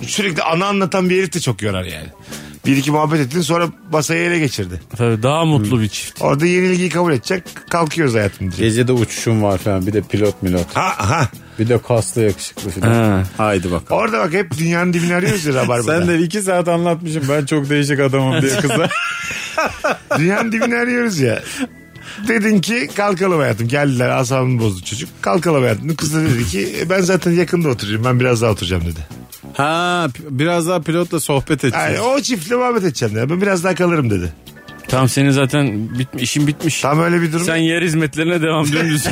C: sürekli ana anlatan bir herif de çok yorar yani. Bir iki muhabbet ettin sonra masayı ele geçirdi.
E: Tabii daha mutlu bir çift.
C: Orada yenilgiyi kabul edecek. Kalkıyoruz hayatım
E: E-
C: diye.
D: Gecede uçuşum var falan bir de pilot milot.
C: Ha ha.
D: Bir de kaslı yakışıklı falan.
E: Ha.
D: Haydi bakalım.
C: Orada bak hep dünyanın dibini arıyoruz ya rabarbada.
D: Sen de iki saat anlatmışım ben çok değişik adamım diye kıza.
C: Dünyanın dibini arıyoruz ya. Dedin ki kalkalım hayatım. Geldiler asabımı bozdu çocuk. Kalkalım hayatım. Kız da dedi ki "E, ben zaten yakında oturacağım. Ben biraz daha oturacağım dedi.
D: ha pi- biraz daha pilotla sohbet edeceğiz.
C: Yani o çiftle muhabbet edeceğim dedi. Ben biraz daha kalırım dedi.
E: Tamam senin zaten bit- işin bitmiş.
C: Tam öyle bir durum.
E: Sen yer hizmetlerine devam dümdüz.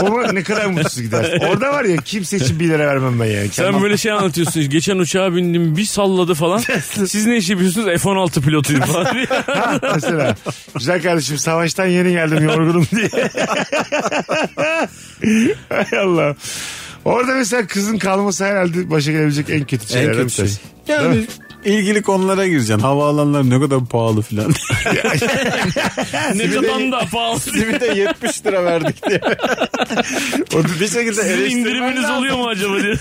C: Ama ne kadar mutsuz gider. Orada var ya kimse için bir lira vermem ben yani.
E: Sen böyle şey anlatıyorsun. Geçen uçağa bindim bir salladı falan. Siz ne iş yapıyorsunuz? F-16 pilotuyum falan diye.
C: Ha, Mesela güzel kardeşim savaştan yeni geldim yorgunum diye. Hay Allah. Orada mesela kızın kalması herhalde başa gelebilecek en kötü
D: en
C: şeylerden
D: kötü
C: bir
D: şey.
C: tanesi. Değil
D: Yani
C: mi?
D: ilgili konulara gireceksin. Havaalanları ne kadar pahalı filan.
E: ne kadar da pahalı.
D: Simite 70 lira verdik diye. şey. bir şekilde
E: Sizin indiriminiz
D: lazım.
E: oluyor mu acaba diye.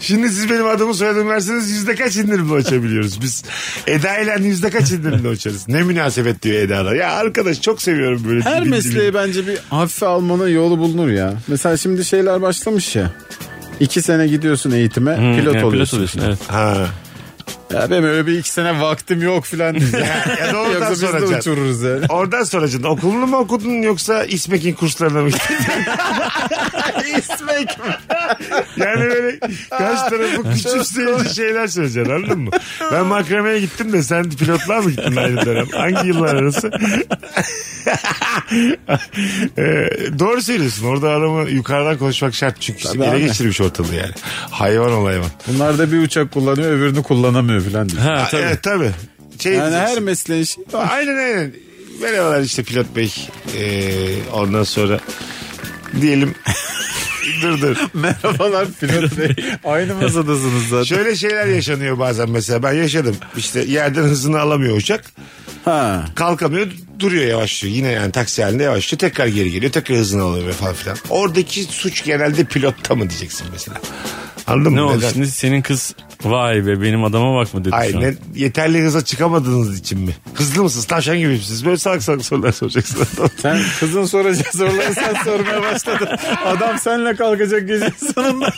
C: Şimdi siz benim adımı soyadımı verseniz yüzde kaç indirimle uçabiliyoruz biz? Eda ile yüzde kaç indirimle uçarız? Ne münasebet diyor Eda'da. Ya arkadaş çok seviyorum böyle.
D: Her
C: dibin dibini.
D: mesleğe bence bir hafife almanın yolu bulunur ya. Mesela şimdi şeyler başlamış ya. İki sene gidiyorsun eğitime Hmm, pilot,
E: Hmm, Yani
D: oluyorsun.
E: Evet.
C: Ha.
D: Ya benim öyle bir iki sene vaktim yok filan diyeceğim.
C: Ya da oradan
D: Yoksa biz de
C: soracaksın.
D: uçururuz yani.
C: Oradan soracaksın. Okulunu mu okudun yoksa İsmek'in kurslarına mı gittin?
D: İsmek
C: Yani böyle kaç tarafı küçümseyici şeyler söyleyeceksin anladın mı? Ben makremeye gittim de sen pilotluğa mı gittin aynı dönem? Hangi yıllar arası? Ee, doğru söylüyorsun. Orada adamı yukarıdan konuşmak şart. Çünkü ele
D: abi.
C: geçirmiş ortalığı yani. Hayvan ol hayvan.
D: Bunlar da bir uçak kullanıyor öbürünü kullanamıyor filan diyor.
E: Ha, tabii.
C: Evet tabii. Şey
D: Yani her
C: diyeceksin.
D: mesleğin şeyi var.
C: Aynen aynen. Merhabalar işte pilot bey. Ee, ondan sonra diyelim dur dur.
D: Merhabalar pilot bey. Aynı masadasınız zaten.
C: Şöyle şeyler yaşanıyor bazen mesela ben yaşadım. İşte yerden hızını alamıyor uçak.
D: Ha.
C: Kalkamıyor duruyor yavaşlıyor. Yine yani taksi halinde yavaşlıyor. Tekrar geri geliyor. Tekrar hızını alıyor falan filan. Oradaki suç genelde pilotta mı diyeceksin mesela. Anladın mı?
E: Ne oldu
C: Neden?
E: şimdi senin kız vay be benim adama bak mı dedi
C: Ay
E: şu an.
C: ne, yeterli hıza çıkamadığınız için mi? Hızlı mısınız? Tavşan gibi misiniz? Böyle salak salak sorular soracaksınız.
D: Sen kızın soracağı soruları sen sormaya başladın. Adam senle kalkacak gece sonunda.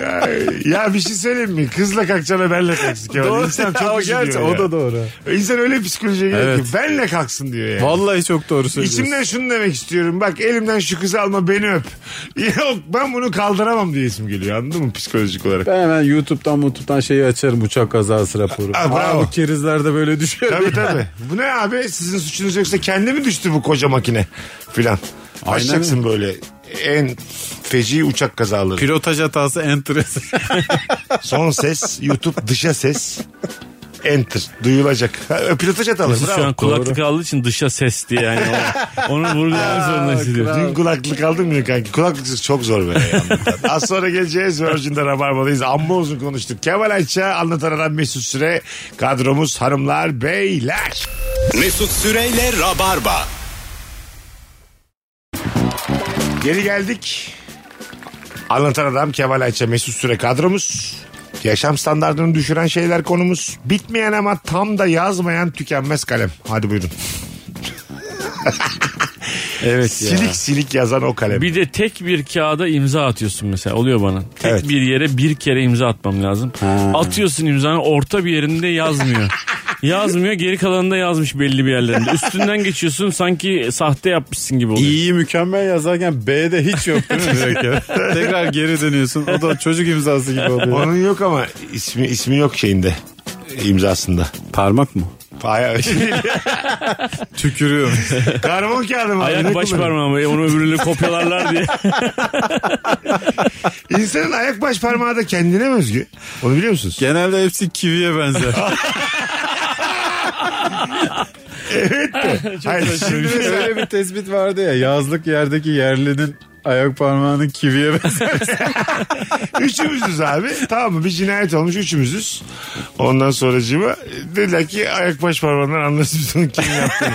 C: ya, ya bir şey söyleyeyim mi? Kızla kalkacağına benle kalksın. Kemal. İnsan çok
D: Ama
C: üzülüyor
D: gerçi
C: ya.
D: o da doğru.
C: İnsan öyle psikolojiye geliyor
D: Evet.
C: ki benle kalksın diyor yani.
D: Vallahi çok doğru söylüyorsun.
C: İçimden şunu demek istiyorum. Bak elimden şu kızı alma beni öp. Yok ben bunu kaldıramam diye isim geliyor anladın mı psikolojik olarak.
D: Ben hemen ben YouTube'dan YouTube'dan şeyi açarım uçak kazası raporu.
C: Aa, bravo.
D: Aa, bu kerizler de böyle düşüyor.
C: Tabii tabii. Bu ne abi? Sizin suçunuz yoksa kendi mi düştü bu koca makine filan?
D: Aynen
C: Açacaksın böyle en feci uçak kazaları.
D: Pilotaj hatası enteresan.
C: Son ses, YouTube dışa ses. Enter. Duyulacak. Ha, pilotaj hatalı.
E: Siz şu
C: Bravo.
E: an kulaklık aldığı için dışa ses diye yani o- onu vurgulamak zorunda hissediyorum.
C: Dün kulaklık aldın mı kanki? Kulaklıksız çok zor böyle. ya. Az sonra geleceğiz. Virgin'de Rabarba'dayız. Amma uzun konuştuk. Kemal Ayça, Anlatan Adam Mesut Süre. Kadromuz hanımlar, beyler.
B: Mesut Süreyle Rabarba.
C: Geri geldik. Anlatan adam Kemal Ayça Mesut Süre kadromuz. Yaşam standartını düşüren şeyler konumuz. Bitmeyen ama tam da yazmayan tükenmez kalem. Hadi buyurun.
E: Evet ya.
C: Silik silik yazan o kalem.
E: Bir de tek bir kağıda imza atıyorsun mesela oluyor bana. Tek
C: Evet.
E: bir yere bir kere imza atmam lazım. Atıyorsun imzanı orta bir yerinde yazmıyor. yazmıyor geri kalanında yazmış belli bir yerlerinde. Üstünden geçiyorsun sanki sahte yapmışsın gibi oluyor.
D: İyi mükemmel yazarken B'de hiç yok değil mi direkt ya? Tekrar geri dönüyorsun. O da çocuk imzası gibi oluyor.
C: Onun yok ama ismi ismi yok şeyinde imzasında.
D: Parmak mı?
C: Bayağı
D: Tükürüyor.
C: Karbon kağıdı mı? Ne
E: Ayak baş
C: kullanıyor?
E: parmağımı onu öbürünü kopyalarlar diye.
C: İnsanın ayak baş parmağı da kendine mi özgü? Onu biliyor musunuz?
D: Genelde hepsi kiviye benzer.
C: Hayır, şimdi mesela-
D: Öyle bir tespit vardı ya yazlık yerdeki yerlinin ayak parmağının kiviye benzer.
C: Üçümüzüz abi. Tamam mı? Bir cinayet olmuş üçümüzüz. Ondan sonracığıma dediler ki ayak baş parmağından anlarsınız onun kim yaptığını.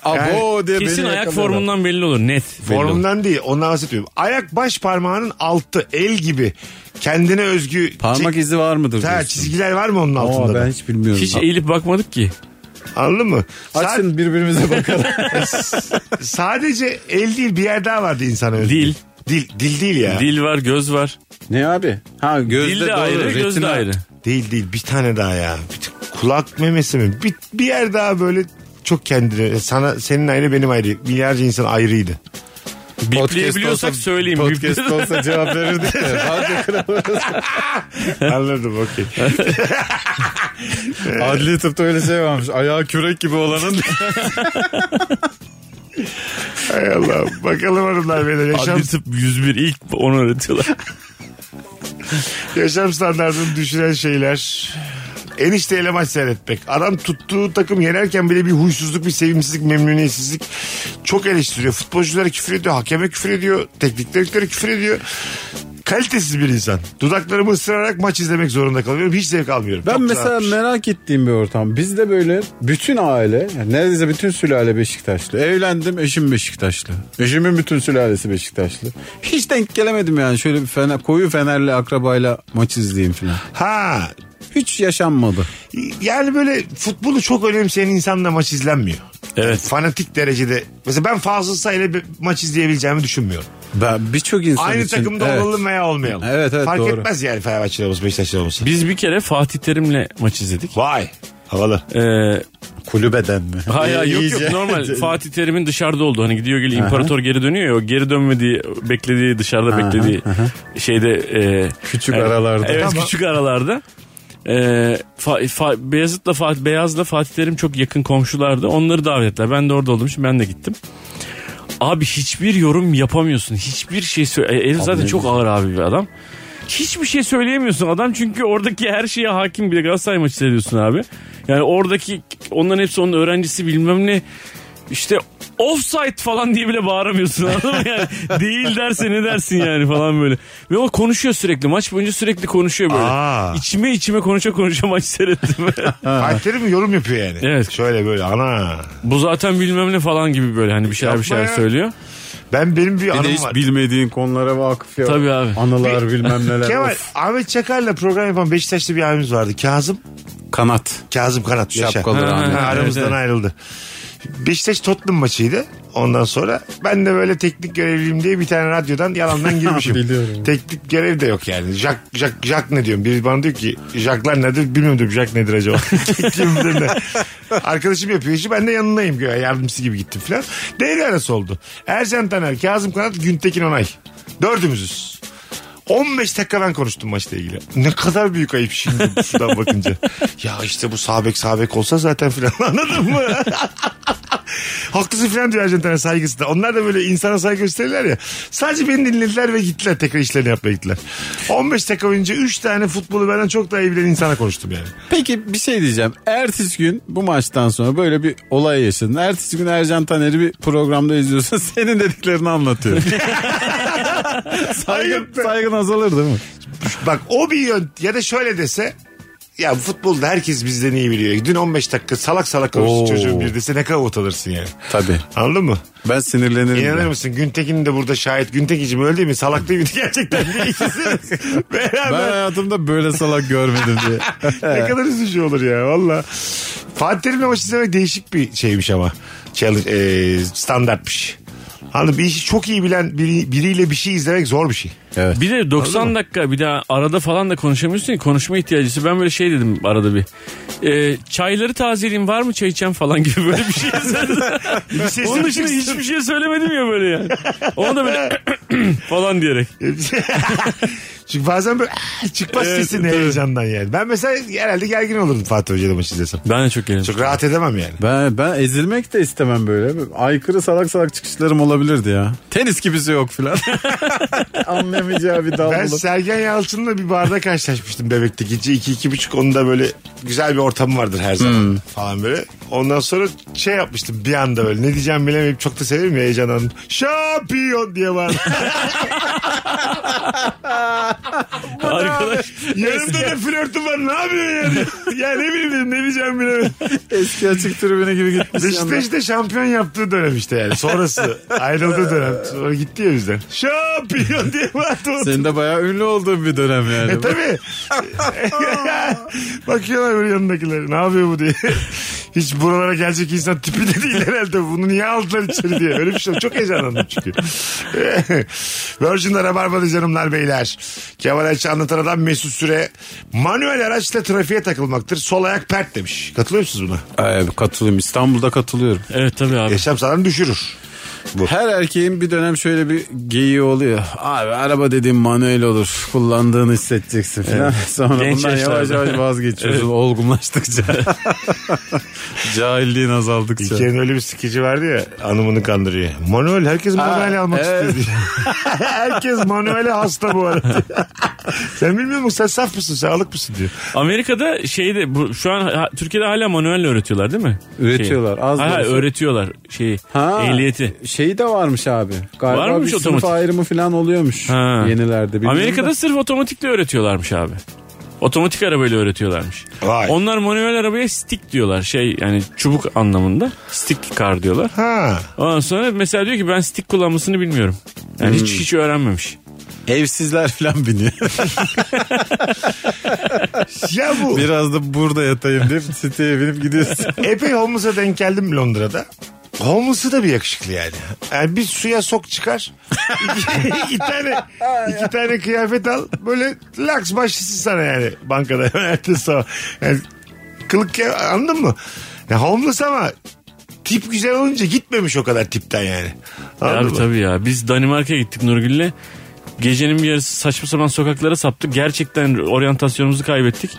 D: Abo diye
E: Kesin
D: beni
E: ayak
D: yakalıyorlar.
E: formundan belli olur net. belli olur.
C: Formundan değil. Ondan bahsetmiyorum. Ayak baş parmağının altı el gibi kendine özgü
D: Parmak
C: çi-
D: izi var mıdır?
C: Ha,
D: diyorsun?
C: çizgiler var mı onun altında?
D: Oo,
C: da?
D: ben hiç bilmiyorum.
E: Hiç eğilip bakmadık ki.
C: Anladın mı? Sa-
D: Açın birbirimize bakalım.
C: sadece el değil bir yer daha vardı insana özgü.
E: Dil.
C: Dil, dil değil ya. Değil.
E: Dil var göz var.
D: ne abi? Ha gözde
E: Dil de
D: doğru,
E: ayrı göz de
D: retina.
E: ayrı.
C: değil bir tane daha ya. Bir tık kulak memesi mi? Bir, bir yer daha böyle çok kendine. Sana, senin ayrı benim ayrı. Milyarca insan ayrıydı.
E: Bipleyebiliyorsak
D: olsa-
E: söyleyeyim.
D: Podcast
E: Bipleyebiliyorsak-
D: olsa cevap verirdik de. Radyo kanalı-
C: Anladım okey.
D: Adli tıpta öyle şey varmış. Ayağı kürek gibi olanın
C: Hay Allah. Bakalım hanımlar beyler. Yaşam,
E: Adli tıp 101 ilk onu öğretiyorlar.
C: yaşam standartını düşüren şeyler. Enişteyle maç seyretmek. Adam tuttuğu takım yenerken bile bir huysuzluk, bir sevimsizlik, memnuniyetsizlik çok eleştiriyor. Futbolculara küfür ediyor, hakeme küfür ediyor, teknik direktöre küfür ediyor. Kalitesiz bir insan. Dudaklarımı ısırarak maç izlemek zorunda kalıyorum. Hiç zevk almıyorum.
D: Ben
C: Çok
D: mesela
C: rahatmış.
D: merak ettiğim bir ortam. Bizde böyle bütün aile, yani neredeyse bütün sülale Beşiktaşlı. Evlendim eşim Beşiktaşlı. Eşimin bütün sülalesi Beşiktaşlı. Hiç denk gelemedim yani şöyle bir fener, koyu fenerli akrabayla maç izleyeyim falan.
C: Ha.
D: Hiç yaşanmadı.
C: Yani böyle futbolu çok önemseyen insanla maç izlenmiyor.
E: Evet.
C: Fanatik derecede. Mesela ben Fazıl Say'la bir maç izleyebileceğimi düşünmüyorum.
D: Ben birçok insan
C: Aynı
D: için-
C: takımda
D: evet.
C: olalım veya olmayalım.
D: Evet, evet,
C: Fark
D: doğru.
C: etmez yani Fenerbahçe'de olması Beşiktaş'ta olması.
E: Biz bir kere Fatih Terim'le maç izledik.
C: Vay. Havalı.
E: Ee,
D: Kulübeden mi?
E: Hayır yok yok
D: İyice.
E: normal Fatih Terim'in dışarıda oldu. Hani gidiyor geliyor imparator geri dönüyor ya o geri dönmediği beklediği dışarıda beklediği şeyde e,
D: Küçük
E: evet,
D: aralarda.
E: Evet
C: Tamam.
E: küçük aralarda. E, Fa- Fa- Beyazıt'la Fatih Beyaz'la Fatih Terim çok yakın komşulardı. Onları davetler. Ben de orada olduğum için ben de gittim. Abi hiçbir yorum yapamıyorsun. Hiçbir şey söyle. Elif zaten çok ağır abi bir adam. Hiçbir şey söyleyemiyorsun adam çünkü oradaki her şeye hakim bir de Galatasaray maçı seyrediyorsun abi. Yani oradaki onların hepsi onun öğrencisi bilmem ne işte offside falan diye bile bağıramıyorsun anladın mı? Yani değil derse ne dersin yani falan böyle. Ve o konuşuyor sürekli maç boyunca sürekli konuşuyor böyle.
C: Aa.
E: İçime içime konuşa konuşa maç seyrettim.
C: Fatih mi yorum yapıyor yani?
E: Evet.
C: Şöyle böyle ana.
E: Bu zaten bilmem ne falan gibi böyle hani bir şeyler bir
C: Yapma
E: şeyler
C: ya.
E: söylüyor.
C: Ben benim bir,
D: Bir de
C: anım
D: hiç
C: var.
D: bilmediğin konulara vakıf ya.
E: Tabii abi.
D: Anılar bilmem neler.
C: Kemal,
D: Of.
C: Ahmet Çakar'la program yapan Beşiktaşlı bir abimiz vardı. Kazım.
D: Kanat.
C: Kazım Kanat. Yaşa.
D: Şapkalı
E: Ha,
D: rahmetli.
C: Ha,
E: Evet,
C: aramızdan
E: evet.
C: ayrıldı. Beşiktaş Tottenham maçıydı. Ondan sonra ben de böyle teknik görevliyim diye bir tane radyodan yalandan girmişim.
D: Biliyorum.
C: Teknik görev de yok yani. Jack, Jack, Jack ne diyorum? Biri bana diyor ki Jack'lar nedir? Bilmiyorum diyorum Jack nedir acaba? Kim bilir ne? Arkadaşım yapıyor işi ben de yanındayım. Güya Yardımcısı gibi gittim falan. Devre arası oldu. Ercan Taner, Kazım Kanat, Güntekin Onay. Dördümüzüz. 15 dakika ben konuştum maçla ilgili. Ne kadar büyük ayıp şimdi şuradan bakınca. ya işte bu sabek sabek olsa zaten filan anladın mı? Haklısın filan diyor Arjantin'e saygısı da. Onlar da böyle insana saygı gösterirler ya. Sadece beni dinlediler ve gittiler. Tekrar işlerini yapmaya gittiler. 15 dakika önce 3 tane futbolu benden çok daha iyi bilen insana konuştum yani.
D: Peki bir şey diyeceğim. Ertesi gün bu maçtan sonra böyle bir olay yaşadın. Ertesi gün Ercan Taner'i bir programda izliyorsun. Senin dediklerini anlatıyor.
C: Ayıp be.
D: Saygın azalır değil mi?
C: Bak o bir yön ya da şöyle dese ya futbolda herkes bizden iyi biliyor. Dün 15 dakika salak salak konuştu
D: Oo.
C: çocuğun bir dese ne kadar utanırsın yani.
D: Tabii.
C: Anladın mı?
D: Ben sinirlenirim.
C: İnanır
D: ya.
C: mısın? Güntekin de burada şahit. Güntekinciğim öyle değil mi? Salak değil miydi gerçekten? Bir ikisi
D: Ben
C: Beraber
D: hayatımda böyle salak görmedim diye.
C: ne kadar üzücü olur ya valla. Fatih Terim'le maç izlemek değişik bir şeymiş ama. Challenge, e, standartmış. Anladın mı? bir işi çok iyi bilen biri, biriyle bir şey izlemek zor bir şey.
D: evet.
E: Bir de 90 dakika bir daha arada falan da konuşamıyorsun ya konuşma ihtiyacısı. Ben böyle şey dedim arada bir. Ee, çayları tazeleyeyim var mı çay içen falan gibi böyle bir şey söyledim.
C: Bir şey
E: Onun dışında
C: söylemiştim.
E: hiçbir şey söylemedim ya böyle yani. Onu da böyle falan diyerek.
C: Çünkü bazen böyle "Ah!" çıkmaz
E: Evet,
C: sesin
E: tabii.
C: heyecandan yani. Ben mesela herhalde gergin olurdum Fatih Hoca'yla maç izlesem.
E: Ben de çok eğlendim.
C: Çok rahat edemem yani.
D: Ben, ben ezilmek de istemem böyle. Aykırı salak salak çıkışlarım olabilirdi ya. Tenis gibisi yok filan. Anlayamayacağı bir dal
C: Ben
D: bulup.
C: Sergen Yalçın'la bir barda karşılaşmıştım bebekte. Gece iki, iki buçuk onda böyle güzel bir ortamı vardır her zaman falan böyle. Ondan sonra şey yapmıştım bir anda böyle ne diyeceğimi bilemeyip çok da severim ya heyecanlandım. Şampiyon diye bağırdım.
E: Arkadaş
C: Yanımda da flörtüm var ne yapıyorsun yani? ya ne bileyim dedim, ne diyeceğimi bilemedim.
D: Eski açık tribüne gibi gitmiş. yandan.
C: Beşiktaş'ta şampiyon yaptığı dönem işte yani. Sonrası ayrıldığı dönem. Sonra gitti ya bizden. Şampiyon diye bağırdı.
D: Senin de bayağı ünlü olduğun bir dönem yani.
C: E tabii. Bakıyorlar böyle yanındakiler. Ne yapıyor bu diye. Hiç buralara gelecek insan tipi de değil herhalde. Bunu niye aldılar içeri diye. Öyle bir şey. Çok heyecanlandım çünkü. Virgin'de Rabarba'da canımlar beyler. Kemal Ayça anlatan adam Mesut Süre. Manuel araçla trafiğe takılmaktır. Sol ayak pert demiş. Katılıyor musunuz buna?
D: Ay, katılıyorum. İstanbul'da katılıyorum.
E: evet tabii abi.
C: Yaşam sağlığını düşürür.
D: Her erkeğin bir dönem şöyle bir geyiği oluyor. Abi araba dediğin manuel olur. Kullandığını hissedeceksin falan. Sonra
E: Genç
D: bundan yavaş
E: yaşlarda.
D: yavaş vazgeçiyorsun. Olgunlaştıkça. Cahilliğin azaldıkça.
C: İlker'in öyle bir skeci vardı ya anımını kandırıyor. Manuel herkes manuel
D: Ha,
C: almak
D: evet.
C: istiyor diye. herkes manuele hasta bu arada. sen bilmiyor musun sen saf mısın sen alık mısın diyor.
E: Amerika'da şeyde bu, şu an ha- Türkiye'de hala manuelle öğretiyorlar değil mi?
D: Üretiyorlar,
E: Şeyi.
D: az da
E: ha, ha,
D: olsa.
E: öğretiyorlar şeyi.
D: Ha.
E: Ehliyeti.
D: Şeyi de varmış abi. Galiba
E: Varmış
D: bir sınıf
E: otomatik.
D: ayrımı falan oluyormuş
E: Ha.
D: yenilerde. bilmiyorum
E: Amerika'da
D: da.
E: sırf otomatikle öğretiyorlarmış abi. Otomatik arabayla öğretiyorlarmış.
C: Vay.
E: Onlar manuel arabaya stick diyorlar. Şey yani çubuk anlamında. Stick car diyorlar.
C: Ha.
E: Ondan sonra mesela diyor ki ben stick kullanmasını bilmiyorum. Yani hiç
C: Hmm.
E: hiç öğrenmemiş.
D: evsizler falan biniyor.
C: Ya bu
D: Biraz da burada yatayım deyip siteye binip gidiyorsun.
C: epey homeless'a denk geldim Londra'da. Homeless'ı da bir yakışıklı yani. Yani bir suya sok çıkar. iki, iki tane iki tane kıyafet al. Böyle laks başlasın sana yani bankada. Ertesi sabah. Yani kılık ya- anladın mı? Ya homeless ama tip güzel olunca gitmemiş o kadar tipten yani. Anladın
E: E Abi
C: mı?
E: tabii ya. Biz Danimarka'ya gittik Nurgül'le. Gecenin bir yarısı saçma sapan sokaklara saptık. Gerçekten oryantasyonumuzu kaybettik.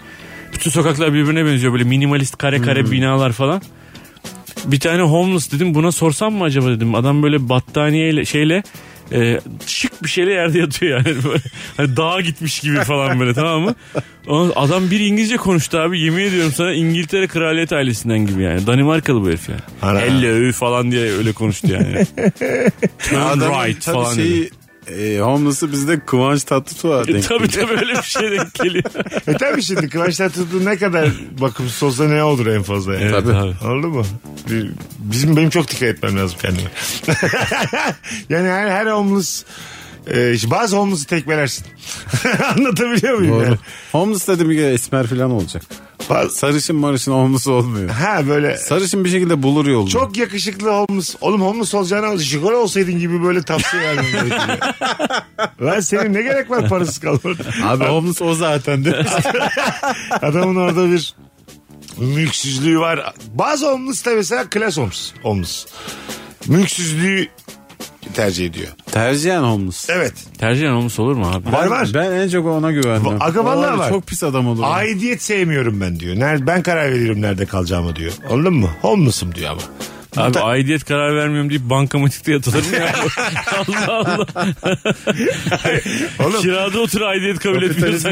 E: Bütün sokaklar birbirine benziyor. Böyle minimalist kare kare
D: Hmm.
E: binalar falan. Bir tane homeless dedim buna sorsam mı acaba dedim. Adam böyle battaniyeyle şeyle e, şık bir şeyle yerde yatıyor yani. Böyle, hani dağa gitmiş gibi falan böyle tamam mı? Ondan- Adam bir İngilizce konuştu abi. Yemin ediyorum sana İngiltere kraliyet ailesinden gibi yani. Danimarkalı bu herif yani.
C: Ana.
E: Hello falan diye öyle konuştu yani. Turn
D: Adamın
E: right
D: tabii
E: falan dedi.
D: şeyi, e, homeless'ı bizde Kıvanç Tatlıtuğ'a
E: E,
D: denk
E: tabii tabii öyle bir şey denk geliyor.
C: E tabii şimdi Kıvançlar tuttuğu ne kadar bakımsız olsa ne olur en fazla yani.
E: Evet abi.
C: Anladın mı? Bir- Bizim benim çok dikkat etmem lazım kendime. yani her, her homeless e, işte bazı homeless'ı tekmelersin. Anlatabiliyor muyum?
D: Doğru.
C: Yani?
D: Homeless dedim bir kere esmer falan olacak.
C: Bazı-
D: Sarışın marışın homeless olmuyor.
C: ha böyle
D: Sarışın bir şekilde bulur yolunu.
C: çok yakışıklı homeless. Oğlum homeless olacağına jigolo olsaydın gibi böyle tavsiye verdim. Lan senin ne gerek var parasız kalmanın?
D: Abi homeless o zaten değil mi?
C: Adamın orada bir mülksüzlüğü var. Bazı omuz da mesela klas omuz. Omuz. Mülksüzlüğü tercih ediyor.
D: Tercihen homeless.
C: Evet.
E: Tercihen olmuş olur mu abi?
C: E, Var var.
D: Ben en çok ona güvendim.
C: Aga vallahi
D: Abi
C: var.
D: Çok pis adam olur.
C: Aidiyet sevmiyorum ben diyor. Nerede, ben karar veriyorum nerede kalacağımı diyor. Anladın mı? Homeless'ım diyor ama.
E: Abi aidiyet karar vermiyorum deyip bankamatikte yatılır mı ya? Allah Allah.
C: Oğlum
E: Kirada otur aidiyet kabul etmiyorsan.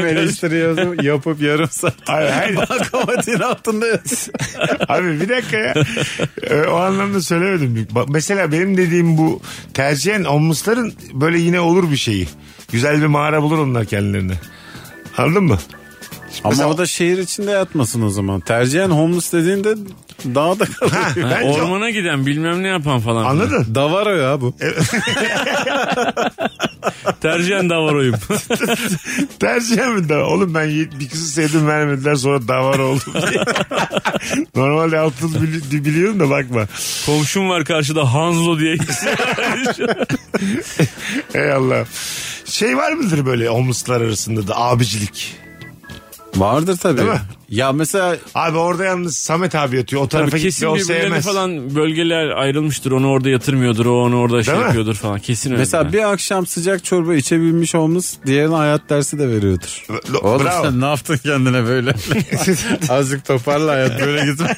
D: Kapitalizmi
E: kardeşim.
D: eleştiriyorsun yapıp yarım saat.
C: hayır, hayır.
D: Bankamatiğin altında yatıyorsun.
C: Abi bir dakika ya. Ee, o anlamda söylemedim. Bak, mesela benim dediğim bu tercihen omuzların böyle yine olur bir şeyi. Güzel bir mağara bulur onlar kendilerine. Anladın mı?
D: Ama
C: Mesela-
D: o da şehir içinde yatmasın o zaman. Tercihen homeless dediğinde dağda
C: Ha,
D: kalıyor.
C: bence
E: Ormana giden bilmem ne yapan falan.
C: Anladın? E,
D: Davaro ya bu.
E: Tercihen davaroyum.
C: Tercihen mi daha? Oğlum ben y- bir kızı sevdim vermediler sonra davar oldum diye. Normalde altın bili- biliyorum da bakma.
E: Komşum var karşıda Hanzo diye.
C: Ey Allah. Şey var mıdır böyle omuzlar arasında da abicilik?
D: Vardır tabii.
C: Değil mi?
D: Ya mesela
C: Abi orada yalnız Samet abi yatıyor. O tarafa
E: Tabii
C: gitti
E: kesin
C: o
E: birbirlerine
C: sevmez.
E: falan bölgeler ayrılmıştır. Onu orada yatırmıyordur. O onu orada şey
C: Değil mi?
E: yapıyordur falan. Kesin öyle.
D: mesela
E: yani.
D: bir akşam sıcak çorba içebilmiş homeless diğerine hayat dersi de veriyordur.
C: Lo- bravo.
D: ne yaptın kendine böyle? Azıcık toparla hayat böyle gitmez.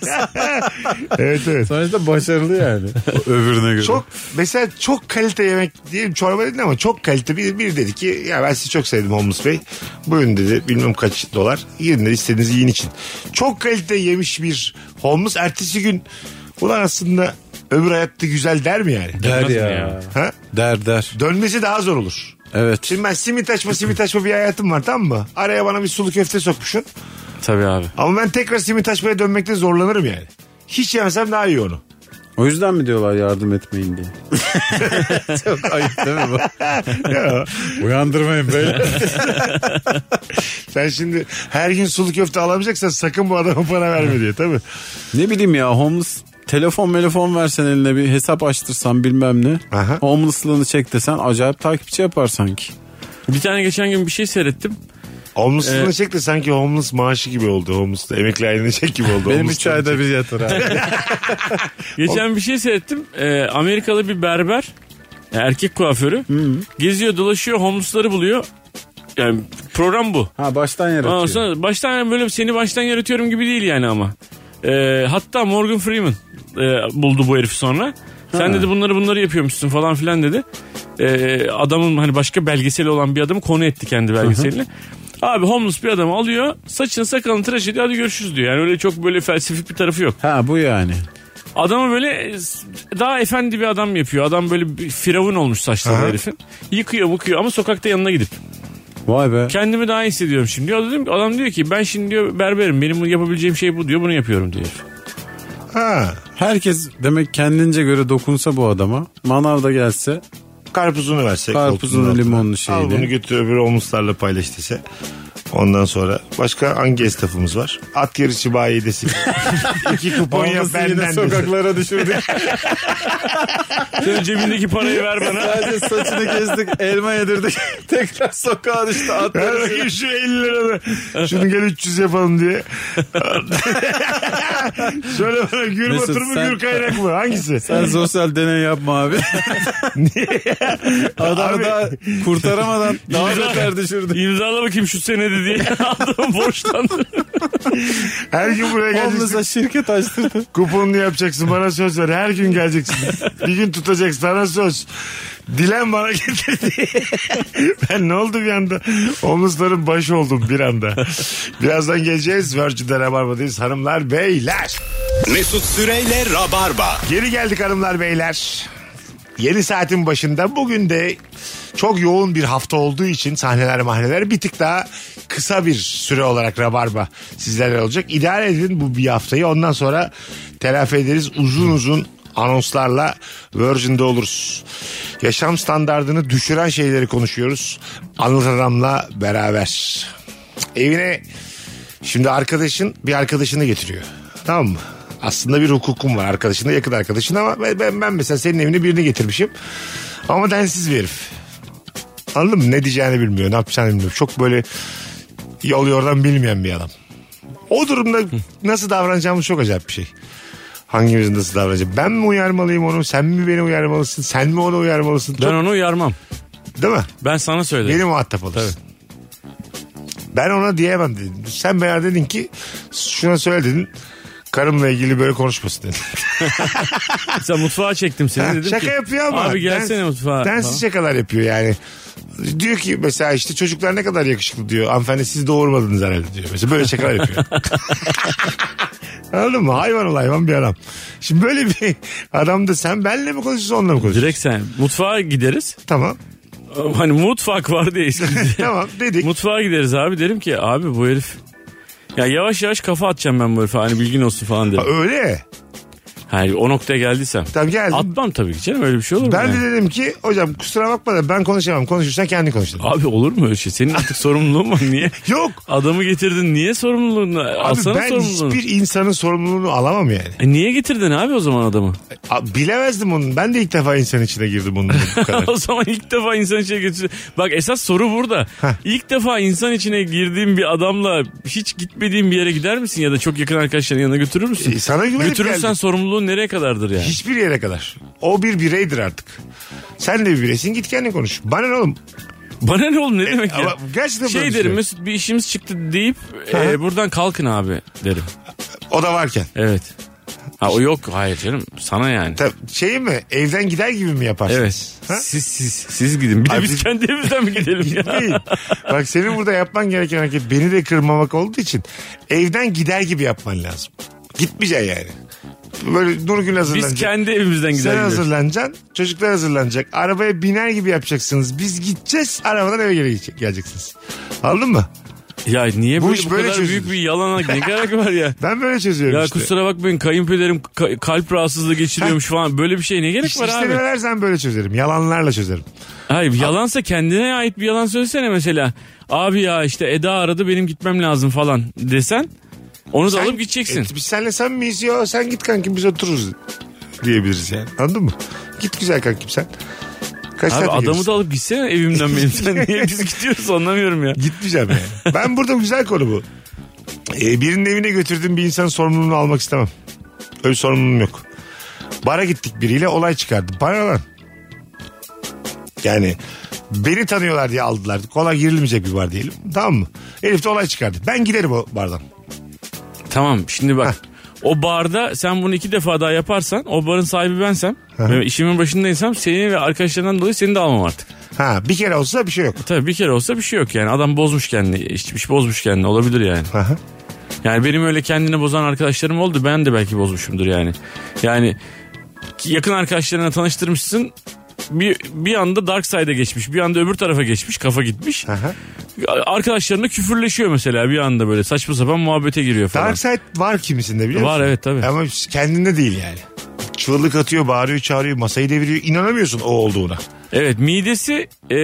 C: Evet evet.
D: Sonuçta başarılı yani. Öbürüne göre.
C: Çok mesela çok kalite yemek diyelim çorba dedin ama çok kalite bir, bir dedi ki ya ben sizi çok sevdim Homus Bey. Buyurun dedi bilmem kaç dolar. Girin dedi istediğinizi yiyin için. Çok kalite yemiş bir Homus ertesi gün ulan aslında öbür hayatta güzel der mi yani?
D: der
E: Dönmez mi
D: ya.
E: ya?
C: Ha?
D: Der der.
C: Dönmesi daha zor olur.
D: Evet.
C: Şimdi ben simit açma simit açma bir hayatım var tamam mı? Araya bana bir sulu köfte sokmuşsun.
E: Tabii abi.
C: Ama ben tekrar simit açmaya dönmekte zorlanırım yani. Hiç yemesem daha iyi onu.
D: O yüzden mi diyorlar yardım etmeyin diye? Çok ayıp değil mi bu? Uyandırmayın böyle.
C: Sen şimdi her gün sulu köfte alamayacaksan sakın bu adama para verme diye tabii.
D: ne bileyim ya homeless telefon telefon versen eline bir hesap açtırsan bilmem ne.
C: Aha.
D: Homeless'lığını çek desen acayip takipçi yapar sanki.
E: Bir tane geçen gün bir şey seyrettim.
C: Homeless'ını çek de sanki homeless maaşı gibi oldu. Homeless da emekli aylığını çek gibi oldu.
D: Benim
C: Homeless
D: 3 ayda bir yatır abi.
E: Geçen bir şey seyrettim. Ee, Amerikalı bir berber, yani erkek kuaförü geziyor, dolaşıyor, homeless'ları buluyor. Yani program bu.
D: ha baştan
E: Ondan
D: yaratıyor.
E: sonra baştan böyle seni baştan yaratıyorum gibi değil yani ama. Ee, hatta Morgan Freeman e, buldu bu herifi sonra. Sen dedi bunları bunları yapıyormuşsun falan filan dedi. Ee, adamın hani başka belgeseli olan bir adamı konu etti kendi belgeseline. Abi homeless bir adamı alıyor. Saçını sakalını tıraş ediyor. Hadi görüşürüz diyor. Yani öyle çok böyle felsefik bir tarafı yok.
D: Ha bu yani.
E: Adamı böyle daha efendi bir adam yapıyor. Adam böyle bir firavun olmuş saçları
C: Aha.
E: herifin. Yıkıyor bıkıyor ama sokakta yanına gidip.
D: Vay be.
E: Kendimi daha iyi hissediyorum şimdi. diyor. Adam, diyor, adam diyor ki ben şimdi diyor berberim. Benim bunu yapabileceğim şey bu diyor. Bunu yapıyorum diyor. herif.
C: Ha,
D: Herkes demek kendince göre dokunsa bu adama. Manavda gelse
C: karpuzunu versek.
D: Karpuzunu,
C: koltuğunun altına.
D: limonlu şeyini.
C: Al bunu götür öbürü homeless'larla paylaş dese. Ondan sonra başka hangi esnafımız var? At yarışı bayi desin. İki kupon yap
D: Homeless'ı
C: benden
D: yine
C: desin.
D: sokaklara düşürdük.
E: Sen cebindeki parayı ver bana.
D: Sadece saçını kestik, elma yedirdik. Tekrar sokağa düştü.
C: Ver
D: Atları
C: bakayım şu 50 liranı. Şunu gel 300 yapalım diye. Söyle bana gür
D: Mesut,
C: batır mı
D: sen-
C: gür kaynak mı? Hangisi?
D: Sen sosyal deney yapma abi. Adamı
C: Abi-
D: daha kurtaramadan daha beter düşürdü.
E: İmzala bakayım şu senedi diye. Adam borçtan.
C: Her gün buraya geleceksin.
D: Homeless'a şirket açtırdı.
C: Kuponunu yapacaksın bana söz ver. Her gün geleceksin. bir gün tutacaksın sana söz. Dilen bana getirdi. ben ne oldu bir anda? Omuzların başı oldum bir anda. Birazdan geleceğiz. Virgin'de Rabarba'dayız hanımlar beyler.
B: Mesut Süreyle Rabarba.
C: Geri geldik hanımlar beyler. Yeni saatin başında bugün de çok yoğun bir hafta olduğu için sahneler mahneler bir tık daha kısa bir süre olarak rabarba sizlerle olacak. İdare edin bu bir haftayı ondan sonra telafi ederiz uzun uzun anonslarla Virgin'de oluruz. Yaşam standartını düşüren şeyleri konuşuyoruz. Anıl Adam'la beraber. Evine Şimdi arkadaşın bir arkadaşını getiriyor. Tamam mı? Aslında bir hukukum var arkadaşına yakın arkadaşına ama ben, ben, ben mesela senin evine birini getirmişim. Ama densiz bir herif. Anladın mı? Ne diyeceğini bilmiyor. Ne yapacağını bilmiyor. Çok böyle yol yordan bilmeyen bir adam. O durumda nasıl davranacağımız çok acayip bir şey. Hangimizin nasıl davranacak? Ben mi uyarmalıyım onu? Sen mi beni uyarmalısın? Sen mi onu uyarmalısın?
E: Ben
C: Çok-
E: onu uyarmam.
C: Değil mi?
E: Ben sana söyledim.
C: Beni muhatap olursun. Ben ona diyemem dedim. Sen bana dedin ki şuna söyle dedin. Karımla ilgili böyle konuşmasın dedin.
E: Sen mutfağa çektim seni dedim
C: Şaka
E: ki,
C: yapıyor ama.
E: Abi gelsene
C: Dens- şey-
E: mutfağa.
C: Densiz
E: falan.
C: şakalar yapıyor yani. Diyor ki mesela işte çocuklar ne kadar yakışıklı diyor. Hanımefendi siz doğurmadınız herhalde diyor. Mesela böyle şakalar yapıyor. Anladın mı? Hayvan ol hayvan bir adam. Şimdi böyle bir adam da sen benle mi konuşuyorsun onunla mı konuşuyorsun?
E: Direkt sen. Mutfağa gideriz.
C: Tamam.
E: Hani mutfak vardı ya eskiden.
C: Tamam dedik.
E: Mutfağa gideriz abi derim ki abi bu herif ya yavaş yavaş kafa atacağım ben bu herife hani bilgin olsun falan
C: Ha,
E: derim.
C: Öyle.
E: Hani o noktaya geldiysem.
C: Tamam geldim.
E: Atmam tabii ki canım öyle bir şey olur mu?
C: ben
E: yani?
C: de dedim ki hocam kusura bakma da ben konuşamam. Konuşursan kendi konuş dedim.
E: Abi olur mu öyle şey? Senin artık sorumluluğun var niye?
C: Yok.
E: Adamı getirdin niye sorumluluğunu?
C: Abi
E: Alsana
C: ben
E: sorumluluğunu.
C: hiçbir insanın sorumluluğunu alamam yani.
E: E niye getirdin abi o zaman adamı?
C: A- Bilemezdim onu. Ben de ilk defa insan içine girdim bunun bu kadar.
E: o zaman ilk defa insan içine getir. Bak esas soru burada. İlk defa insan içine girdiğin bir adamla hiç gitmediğin bir yere gider misin ya da çok yakın arkadaşların yanına götürür müsün?
C: E, sana güvenip
E: Götürürsen
C: geldim.
E: sorumluluğun nereye kadardır yani?
C: Hiçbir yere kadar. O bir bireydir artık. Sen de bir bireysin git kendin konuş. Bana ne oğlum?
E: Bana ne oğlum ne demek ya?
C: E, ama gerçekten böyle
E: şey derim
C: düşünüyorum.
E: Mesut bir işimiz çıktı deyip e, buradan kalkın abi derim.
C: O da varken.
E: Evet. Ha o yok hayır canım sana yani.
C: Tabii, şey mi? Evden gider gibi mi yaparsın?
E: Evet.
C: Ha?
E: Siz siz siz gidin. Bir de
C: Abi-
E: biz kendi evimizden mi gidelim ya?
C: Değil. Bak senin burada yapman gereken hareket beni de kırmamak olduğu için evden gider gibi yapman lazım. Gitmeyeceksin yani. Böyle Nurgül hazırlanacak.
E: Biz kendi evimizden
C: Sen
E: gidelim.
C: hazırlanacaksın. Çocuklar hazırlanacak. Arabaya biner gibi yapacaksınız. Biz gideceğiz. Arabadan eve gele- geleceksiniz. Anladın mı?
E: Ya niye
C: Bu
E: böyle,
C: iş
E: bu
C: böyle
E: kadar
C: çözülür.
E: büyük bir yalana ne gerek var ya?
C: Ben böyle çözüyorum
E: Ya
C: işte.
E: kusura bakmayın kayınpederim ka- kalp rahatsızlığı geçiriyormuş falan. Böyle bir şey ne gerek
C: İşte
E: var abi?
C: işleri ben her zaman böyle çözerim. Yalanlarla çözerim.
E: Hayır yalansa kendine ait bir yalan söylesene mesela. Abi ya işte Eda aradı benim gitmem lazım falan desen. Onu da
C: Sen-
E: alıp gideceksin.
C: E, biz senle sen miyiz ya? Sen git kankim biz otururuz diyebiliriz yani. Anladın mı? Git güzel kankim sen. Kaç
E: Abi
C: saate
E: adamı
C: gelirsin?
E: da alıp gitsene evimden benim. Sen niye biz gidiyoruz anlamıyorum ya.
C: Gitmeyeceğim yani. ben burada güzel konu bu. E, birinin evine götürdüğüm bir insanın sorumluluğunu almak istemem. Öyle bir sorumluluğum yok. Bara gittik biriyle olay çıkardı. Bana lan. Yani beni tanıyorlar diye aldılar. Kolay girilmeyecek bir bar diyelim. Tamam mı? Elif de olay çıkardı. Ben giderim o bardan.
E: Tamam şimdi bak. O barda sen bunu iki defa daha yaparsan o barın sahibi bensem ve işimin başındaysam seni ve arkadaşlarından dolayı seni de almam artık.
C: Ha bir kere olsa bir şey yok.
E: Tabii bir kere olsa bir şey yok yani adam bozmuş kendini içmiş bozmuş kendini olabilir yani.
C: Aha.
E: Yani benim öyle kendini bozan arkadaşlarım oldu. Ben de belki bozmuşumdur yani. Yani yakın arkadaşlarına tanıştırmışsın. Bir, bir anda dark side'a geçmiş. Bir anda öbür tarafa geçmiş. Kafa gitmiş.
C: Aha.
E: Arkadaşlarına küfürleşiyor mesela bir anda böyle saçma sapan muhabbete giriyor falan.
C: Dark side var kimisinde biliyor musun?
E: Var, evet, tabii.
C: Ama kendinde değil yani. Çığlık atıyor, bağırıyor, çağırıyor, masayı deviriyor. İnanamıyorsun o olduğuna.
E: Evet midesi e,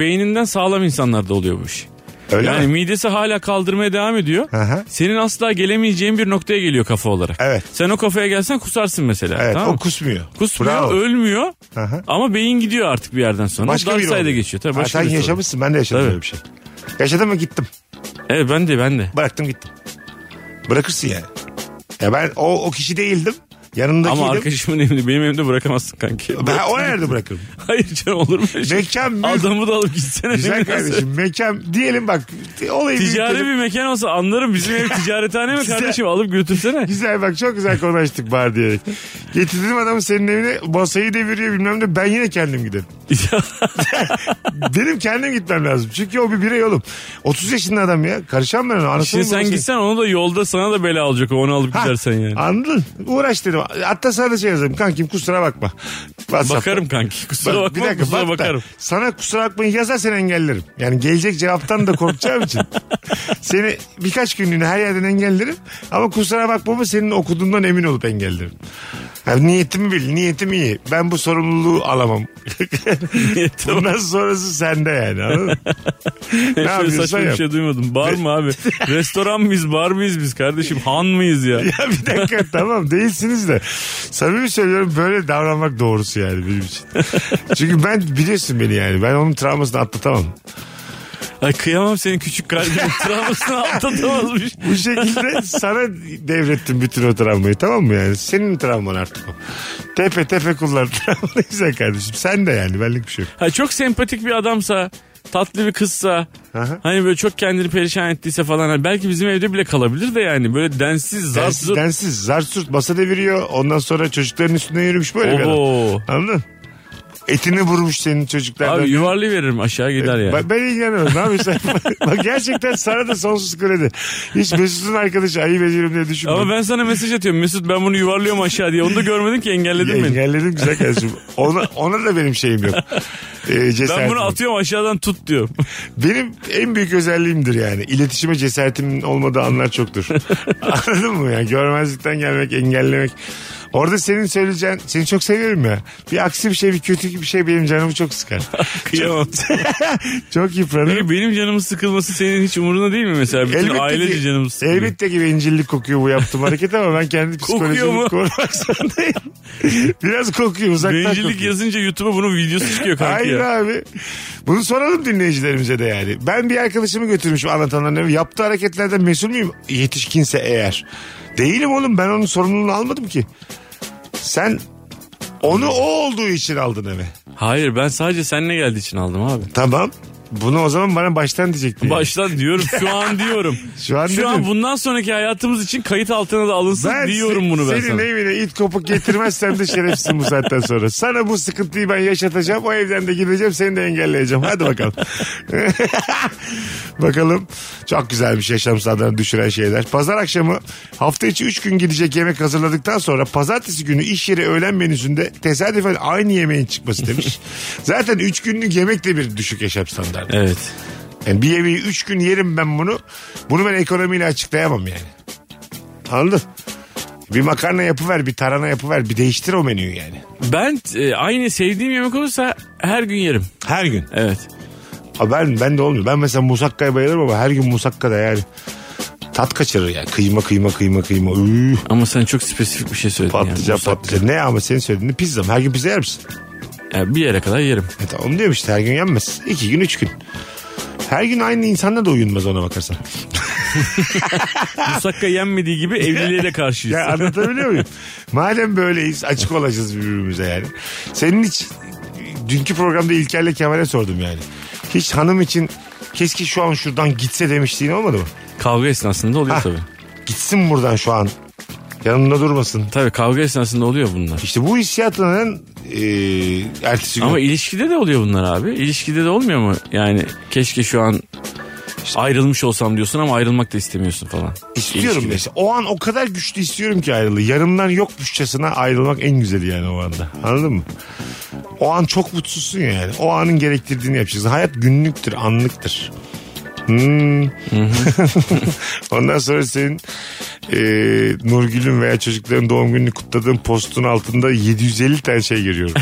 E: beyninden sağlam insanlarda oluyor bu iş.
C: Öyle
E: yani
C: mi?
E: midesi hala kaldırmaya devam ediyor.
C: Aha.
E: Senin asla gelemeyeceğin bir noktaya geliyor kafa olarak.
C: Evet.
E: Sen o kafaya gelsen kusarsın mesela.
C: Evet
E: tamam mı?
C: o kusmuyor.
E: Kusmuyor,
C: Bravo.
E: ölmüyor
C: Aha.
E: ama beyin gidiyor artık bir yerden sonra.
C: Başka
E: Dark
C: biri
E: side'e
C: oluyor.
E: geçiyor. Tabii
C: Ha,
E: başka
C: sen
E: birisi oluyor.
C: yaşamışsın ben de yaşadım
E: Tabii.
C: böyle bir şey. Yaşadım mı gittim.
E: Evet ben de ben de.
C: Bıraktım gittim. Bırakırsın yani. Ya ben o, o kişi değildim. Yanındakiydim.
E: Ama arkadaşımın evinde benim evimde bırakamazsın kanki.
C: Ben o yerde bırakırım.
E: Hayır canım olur mu? öyle şey?
C: Mekan mülk.
E: Adamı da alıp gitsene.
C: Güzel
E: Bilmem nasıl.
C: kardeşim mekan diyelim bak olayı
E: Ticari
C: büyütelim.
E: bir mekan olsa anlarım bizim ev ticarethane mi
C: Güzel.
E: kardeşim alıp götürsene.
C: Güzel bak çok güzel konuştuk bari diyerek. Getirdim adamı senin evine masayı deviriyor bilmem ne ben yine kendim giderim. Benim kendim gitmem lazım. Çünkü o bir birey oğlum. 30 yaşında adam ya. Karışan ben ona. Anasını
E: Şimdi sen
C: babasını-
E: gitsen onu da yolda sana da bela olacak o, onu alıp
C: Ha,
E: gidersen yani.
C: Anladın. Uğraş dedim. Hatta sana da şey yazarım. Kankim kusura bakma. WhatsApp'ta.
E: Bakarım kanki kusura
C: Bak-
E: bakma
C: bir dakika
E: kusura
C: bak da
E: bakarım.
C: sana kusura bakmayı yazarsan engellerim. Yani gelecek cevaptan da korkacağım için. Seni birkaç günlüğüne her yerden engellerim. Ama kusura bakmamı senin okuduğundan emin olup engellerim. Yani niyetimi bil. Niyetim iyi. Ben bu sorumluluğu alamam. Bundan sonrası sende yani. Anladın mı? ne
E: Şöyle
C: yapıyorsan
E: saçma bir
C: yap.
E: şey duymadım. Bar mı abi? Restoran mıyız, bar mıyız biz kardeşim? Han mıyız ya?
C: Ya bir dakika tamam değilsiniz de. Samimi söylüyorum böyle davranmak doğrusu yani benim için. Çünkü ben biliyorsun beni yani. Ben onun travmasını atlatamam.
E: Ay kıyamam senin küçük kalbinin travmasını atlatamazmış.
C: Bu şekilde sana devrettim bütün o travmayı tamam mı yani? Senin travman artık o. Tepe tepe kullan travmanı güzel kardeşim. Sen de yani benlik bir şey yok.
E: Ha, çok sempatik bir adamsa tatlı bir kızsa
C: Aha.
E: hani böyle çok kendini perişan ettiyse falan hani belki bizim evde bile kalabilir de yani böyle densiz
C: Densiz,
E: zarsız
C: densiz zar sürt masa deviriyor. Ondan sonra çocukların üstüne yürümüş böyle bir adam.
E: Oho.
C: Anladın? Etini vurmuş senin çocuklardan.
E: Abi yuvarlı veririm aşağı gider yani.
C: Ben, ben ilgileniyorum. Ne yapıyorsun? Bak gerçekten sana da sonsuz kredi. Hiç Mesut'un arkadaşı ayıp ediyorum diye düşünme.
E: Ama ben sana mesaj atıyorum. Mesut ben bunu yuvarlıyorum aşağı diye. Onu da görmedin ki engelledin beni.
C: Engelledim güzel kardeşim. Ona, ona da benim şeyim yok. Ee,
E: Ben
C: cesaretim
E: bunu
C: yok.
E: atıyorum aşağıdan tut diyorum.
C: Benim en büyük özelliğimdir yani. İletişime cesaretimin olmadığı anlar çoktur. Anladın mı ya? Görmezlikten gelmek, engellemek. Orada senin söyleyeceğin, seni çok seviyorum ya. Bir aksi bir şey, bir kötü bir şey benim canımı çok sıkar.
E: Kıyamam.
C: çok yıpranırım.
E: Peki benim canımın sıkılması senin hiç umuruna değil mi mesela? Bütün ailece
C: ki,
E: canım sıkılıyor.
C: elbette ki bencillik kokuyor bu yaptığım hareket ama ben kendi
E: Kokuyor
C: psikolojimi
E: mu?
C: korumak zorundayım. Biraz kokuyor uzaktan
E: Bencillik
C: kokuyor.
E: yazınca YouTube'a bunun videosu çıkıyor kanki
C: Hayır
E: ya.
C: abi. Bunu soralım dinleyicilerimize de yani. Ben bir arkadaşımı götürmüşüm anlatanların evi. Yaptığı hareketlerden mesul müyüm? Yetişkinse eğer. Değilim oğlum ben onun sorumluluğunu almadım ki. Sen onu o olduğu için aldın eve.
E: Hayır ben sadece seninle geldiği için aldım abi.
C: Tamam. Bunu o zaman bana baştan diyecektin. yani.
E: Baştan diyorum şu an diyorum.
C: Şu an
E: şu an
C: dedim.
E: bundan sonraki hayatımız için kayıt altına da alınsın diyorum
C: se-
E: bunu ben
C: senin
E: sana.
C: evine it kopuk getirmezsem de şerefsizim bu saatten sonra. Sana bu sıkıntıyı ben yaşatacağım. O evden de gideceğim. Seni de engelleyeceğim. Hadi bakalım. bakalım. Çok güzelmiş yaşam standartını düşüren şeyler. Pazar akşamı hafta içi 3 gün gidecek yemek hazırladıktan sonra pazartesi günü iş yeri öğlen menüsünde tesadüfen aynı yemeğin çıkması demiş. Zaten 3 günlük yemek de bir düşük yaşam standartı.
E: Evet.
C: Yani bir yemeği 3 gün yerim ben bunu. Bunu ben ekonomiyle açıklayamam yani. Anladın? Bir makarna yapıver, bir tarhana yapıver, bir değiştir o menüyü yani.
E: Ben e, aynı sevdiğim yemek olursa her gün yerim.
C: Her gün.
E: Evet.
C: Ha ben, ben de olmuyor. Ben mesela musakkaya bayılırım ama her gün musakka da yani. Tat kaçırır yani. Kıyma kıyma kıyma kıyma. Üh,
E: Ama sen çok spesifik bir şey söyledin. yani.
C: patlıcan patlıcan. Ne ama senin söylediğin pizza mı? Her gün pizza yer misin?
E: Ya bir yere kadar yerim.
C: E tamam diyorum işte her gün yenmez. İki gün üç gün. Her gün aynı insanla da uyunmaz ona bakarsan.
E: Musakka yenmediği gibi evliliğe de karşıyız.
C: Ya anlatabiliyor muyum? Madem böyleyiz açık olacağız birbirimize yani. Senin hiç dünkü programda İlker'le Kemal'e sordum yani. Hiç hanım için keşke şu an şuradan gitse demiştiğin olmadı mı?
E: kavga esnasında oluyor
C: Ha.
E: tabii.
C: Gitsin buradan şu an. Yanımda durmasın.
E: Tabii kavga esnasında oluyor bunlar.
C: İşte bu hissiyatla neden e, ertesi gün
E: Ama ilişkide de oluyor bunlar abi. İlişkide de olmuyor mu? Yani keşke şu an ayrılmış olsam diyorsun ama ayrılmak da istemiyorsun falan.
C: istiyorum
E: İlişkide.
C: mesela. O an o kadar güçlü istiyorum ki ayrılığı. Yarımdan yokmuşçasına ayrılmak en güzeli yani o anda. Anladın mı? O an çok mutsuzsun yani. O anın gerektirdiğini yapacaksın. Hayat günlüktür, anlıktır. Hmm. Ondan sonra senin e, Nurgül'ün veya çocukların doğum gününü kutladığın postun altında 750 tane şey görüyorum.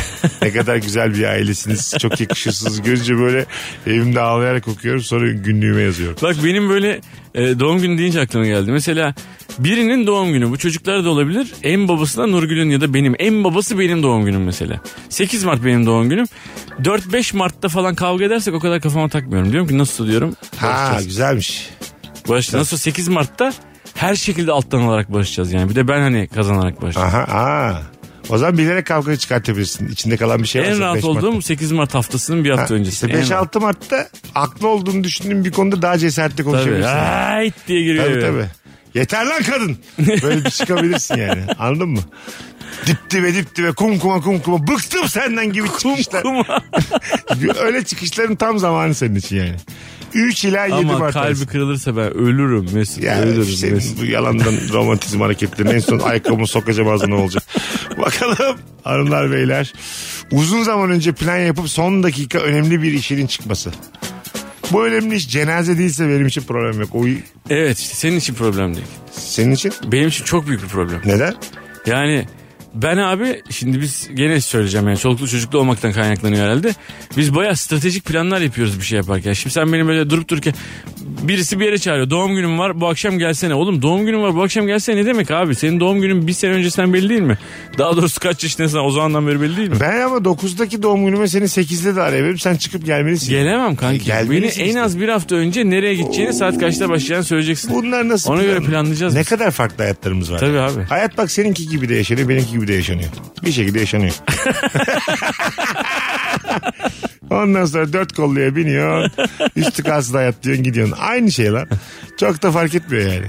C: ne kadar güzel bir ailesiniz. Çok yakışırsınız. Görünce böyle evimde ağlayarak okuyorum. Sonra günlüğüme yazıyorum.
E: Bak benim böyle e, doğum günü deyince aklıma geldi. Mesela birinin doğum günü bu çocuklar da olabilir. En babası da Nurgül'ün ya da benim. En babası benim doğum günüm mesela. 8 Mart benim doğum günüm. 4-5 Mart'ta falan kavga edersek o kadar kafama takmıyorum. Diyorum ki nasıl diyorum.
C: Ha güzelmiş.
E: Barış nasıl 8 Mart'ta her şekilde alttan alarak barışacağız yani. Bir de ben hani kazanarak barışacağım.
C: Aha, aa. O zaman bilerek kavga çıkartabilirsin. İçinde kalan bir şey varsa.
E: en rahat
C: beş Mart'ta.
E: olduğum 8 Mart haftasının bir hafta
C: Ha,
E: öncesi.
C: işte
E: En
C: 5-6
E: rahat.
C: Mart'ta haklı olduğunu düşündüğüm bir konuda daha cesaretli
E: Tabii.
C: konuşabilirsin.
E: Hayt diye giriyor.
C: Tabii
E: ya.
C: tabii. Yeter lan kadın. Böyle bir çıkabilirsin yani. Anladın mı? Dip dibe dip dibe kum kuma kum kuma. Bıktım senden gibi çıkışlar.
E: Kuma.
C: Öyle çıkışların tam zamanı senin için yani. 3 ila 7
E: Ama
C: Mart.
E: kalbi
C: arası.
E: kırılırsa ben ölürüm Mesut.
C: Ya
E: ölürüm
C: senin
E: Mesut.
C: bu yalandan romantizm hareketleri en son ayakkabımı sokacağım ağzına olacak. Bakalım hanımlar beyler. Uzun zaman önce plan yapıp son dakika önemli bir işinin çıkması. Bu önemli iş cenaze değilse benim için problem yok. O
E: Evet işte senin için problem değil.
C: senin için
E: Benim için çok büyük bir problem.
C: neden?
E: Yani ben abi şimdi biz gene söyleyeceğim yani çoluklu çocuklu olmaktan kaynaklanıyor herhalde. Biz bayağı stratejik planlar yapıyoruz bir şey yaparken. Şimdi sen beni böyle durup dururken birisi bir yere çağırıyor. Doğum günüm var bu akşam gelsene. Oğlum doğum günüm var bu akşam gelsene ne demek abi? Senin doğum günün bir sene öncesinden belli değil mi? Daha doğrusu kaç yaşındasın o zamandan beri belli değil mi?
C: Ben ama 9'daki doğum günüme seni 8'de de arayabilirim. Sen çıkıp gelmelisin.
E: Gelemem kanki. Beni
C: Gelmelisin
E: en
C: işte.
E: az bir hafta önce nereye gideceğini saat kaçta başlayacağını söyleyeceksin.
C: Bunlar nasıl?
E: Ona göre
C: planlı?
E: planlayacağız
C: Ne
E: biz.
C: kadar farklı hayatlarımız var.
E: Tabii abi.
C: Hayat bak seninki gibi de yaşanıyor, benimki gibi de yaşanıyor. Bir şekilde yaşanıyor. Ondan sonra dört kolluya biniyor. Üstü kalsın hayat diyorsun gidiyorsun. Aynı şey lan. Çok da fark etmiyor yani.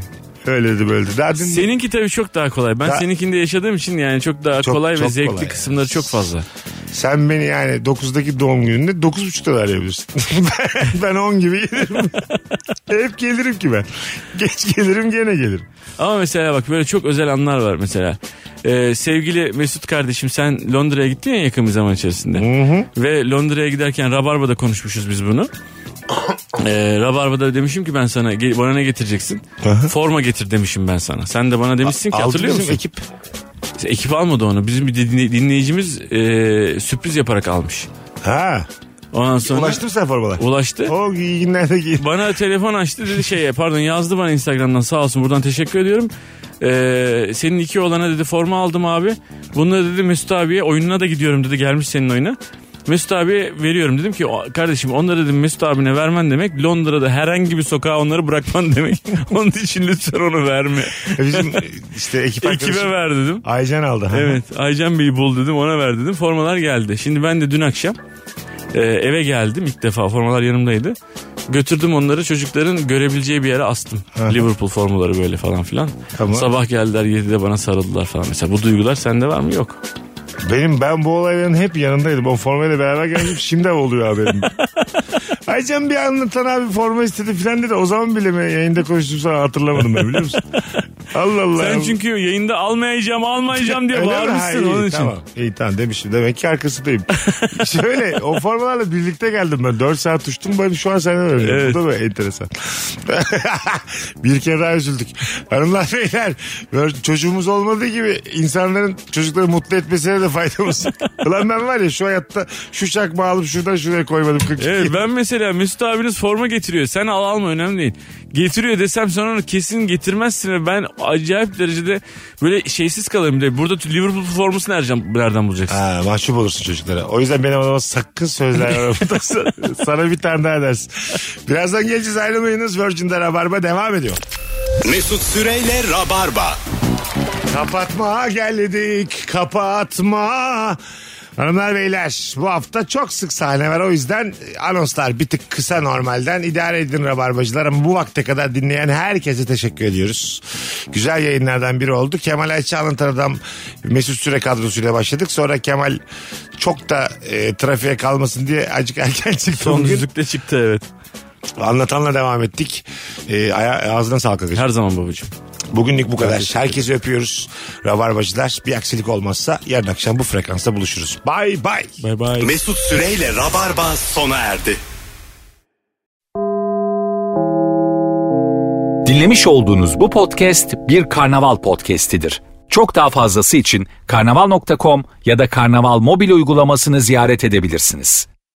C: Öyle de böyle de. Daha dün-
E: Seninki tabii çok daha kolay. Ben
C: Daha-
E: seninkinde yaşadığım için yani çok daha
C: Çok-
E: kolay ve
C: çok
E: zevkli
C: kolay.
E: kısımları çok fazla.
C: Sen beni yani 9'daki doğum gününde 9.30'da da arayabilirsin. ben, ben 10 gibi gelirim. Hep gelirim ki ben. Geç gelirim gene gelirim.
E: Ama mesela bak böyle çok özel anlar var mesela. Ee, sevgili Mesut kardeşim sen Londra'ya gittin ya yakın bir zaman içerisinde. Ve Londra'ya giderken Rabarba'da konuşmuşuz biz bunu. Ee, Rabarba'da demişim ki ben sana "Ge- bana ne getireceksin? Forma getir demişim ben sana. Sen de bana demişsin ki
C: Aldı
E: hatırlıyor
C: bizim
E: musun? Ekip.
C: ekip.
E: ekip almadı onu. Bizim bir dinle- dinleyicimiz e, sürpriz yaparak almış.
C: Ha.
E: Ondan sonra
C: Ulaştı mı sen formalar?
E: ulaştı.
C: O iyi günlerde giy.
E: Bana telefon açtı dedi şey pardon yazdı bana Instagram'dan sağ olsun buradan teşekkür ediyorum. Ee, senin iki olana dedi forma aldım abi. Bunları dedi Mesut abiye oyununa da gidiyorum dedi gelmiş senin oyuna. Mesut abiye veriyorum dedim ki "O- kardeşim onları dedim Mesut abine vermen demek Londra'da herhangi bir sokağa onları bırakman demek. Onun için lütfen onu verme.
C: E, Bizim işte ekip
E: Ekibe
C: arkadaşım.
E: ver dedim.
C: Aycan aldı. Ha.
E: Evet Aycan Bey'i bul dedim ona ver dedim. Formalar geldi. Şimdi ben de dün akşam e, eve geldim ilk defa formalar yanımdaydı. Götürdüm onları çocukların görebileceği bir yere astım. Liverpool formaları böyle falan filan.
C: Tamam.
E: Sabah geldiler 7'de bana sarıldılar falan. Mesela bu duygular sende var mı? Yok.
C: Benim ben bu olayların hep yanındaydım. O formayla beraber geldim. Şimdi oluyor haberim. Aycan bir anlatan abi forma istedi filan dedi. O zaman bile mi yayında konuştum sana hatırlamadım ben biliyor musun? Allah Allah.
E: Sen çünkü yayında almayacağım almayacağım diye
C: Öyle mi? Ha,
E: bağırmışsın
C: iyi,
E: onun için.
C: Tamam. İyi tamam demişim. Demek ki arkasındayım. Şöyle o formalarla birlikte geldim ben. 4 saat uçtum. Ben şu an senden öğreniyorum.
E: Evet.
C: Bu da böyle enteresan. bir kere daha üzüldük. Hanımlar beyler böyle çocuğumuz olmadığı gibi insanların çocukları mutlu etmesine de faydamız. Ulan ben var ya şu hayatta şu çakmağı alıp şuradan şuraya koymadım. 42.
E: Evet ben mesela Mesut abiniz forma getiriyor. Sen al alma önemli değil. Getiriyor desem sen onu kesin getirmezsin ve ben acayip derecede böyle şeysiz kalırım. bile. Burada Liverpool formasını nereden, nereden bulacaksın?
C: Ha, mahcup olursun çocuklara. O yüzden benim adama sakın sözler vermem. Sana bir tane daha dersin. Birazdan geleceğiz ayrılmayınız. Virgin'de Rabarba devam ediyor.
B: Mesut Süreyle Rabarba.
C: Kapatma geldik kapatma. Hanımlar beyler bu hafta çok sık sahne var o yüzden anonslar bir tık kısa normalden idare edin rabarbacılar ama bu vakte kadar dinleyen herkese teşekkür ediyoruz. Güzel yayınlardan biri oldu. Kemal Ayça Anlatan Adam Mesut Süre kadrosuyla başladık. Sonra Kemal çok da e, trafiğe kalmasın diye acık erken çıktı.
E: Son
C: bugün.
E: düzlükte çıktı evet.
C: Anlatanla devam ettik. E, aya- ağzına sağlık. arkadaşlar.
E: Her zaman babacığım.
C: Bugünlük bu kadar. Herkesi öpüyoruz. Rabarbacılar bir aksilik olmazsa yarın akşam bu frekansta buluşuruz. Bay bay.
E: Bay bay.
B: Mesut Süreyle Rabarba sona erdi.
A: Dinlemiş olduğunuz bu podcast bir karnaval podcastidir. Çok daha fazlası için karnaval.com ya da karnaval mobil uygulamasını ziyaret edebilirsiniz.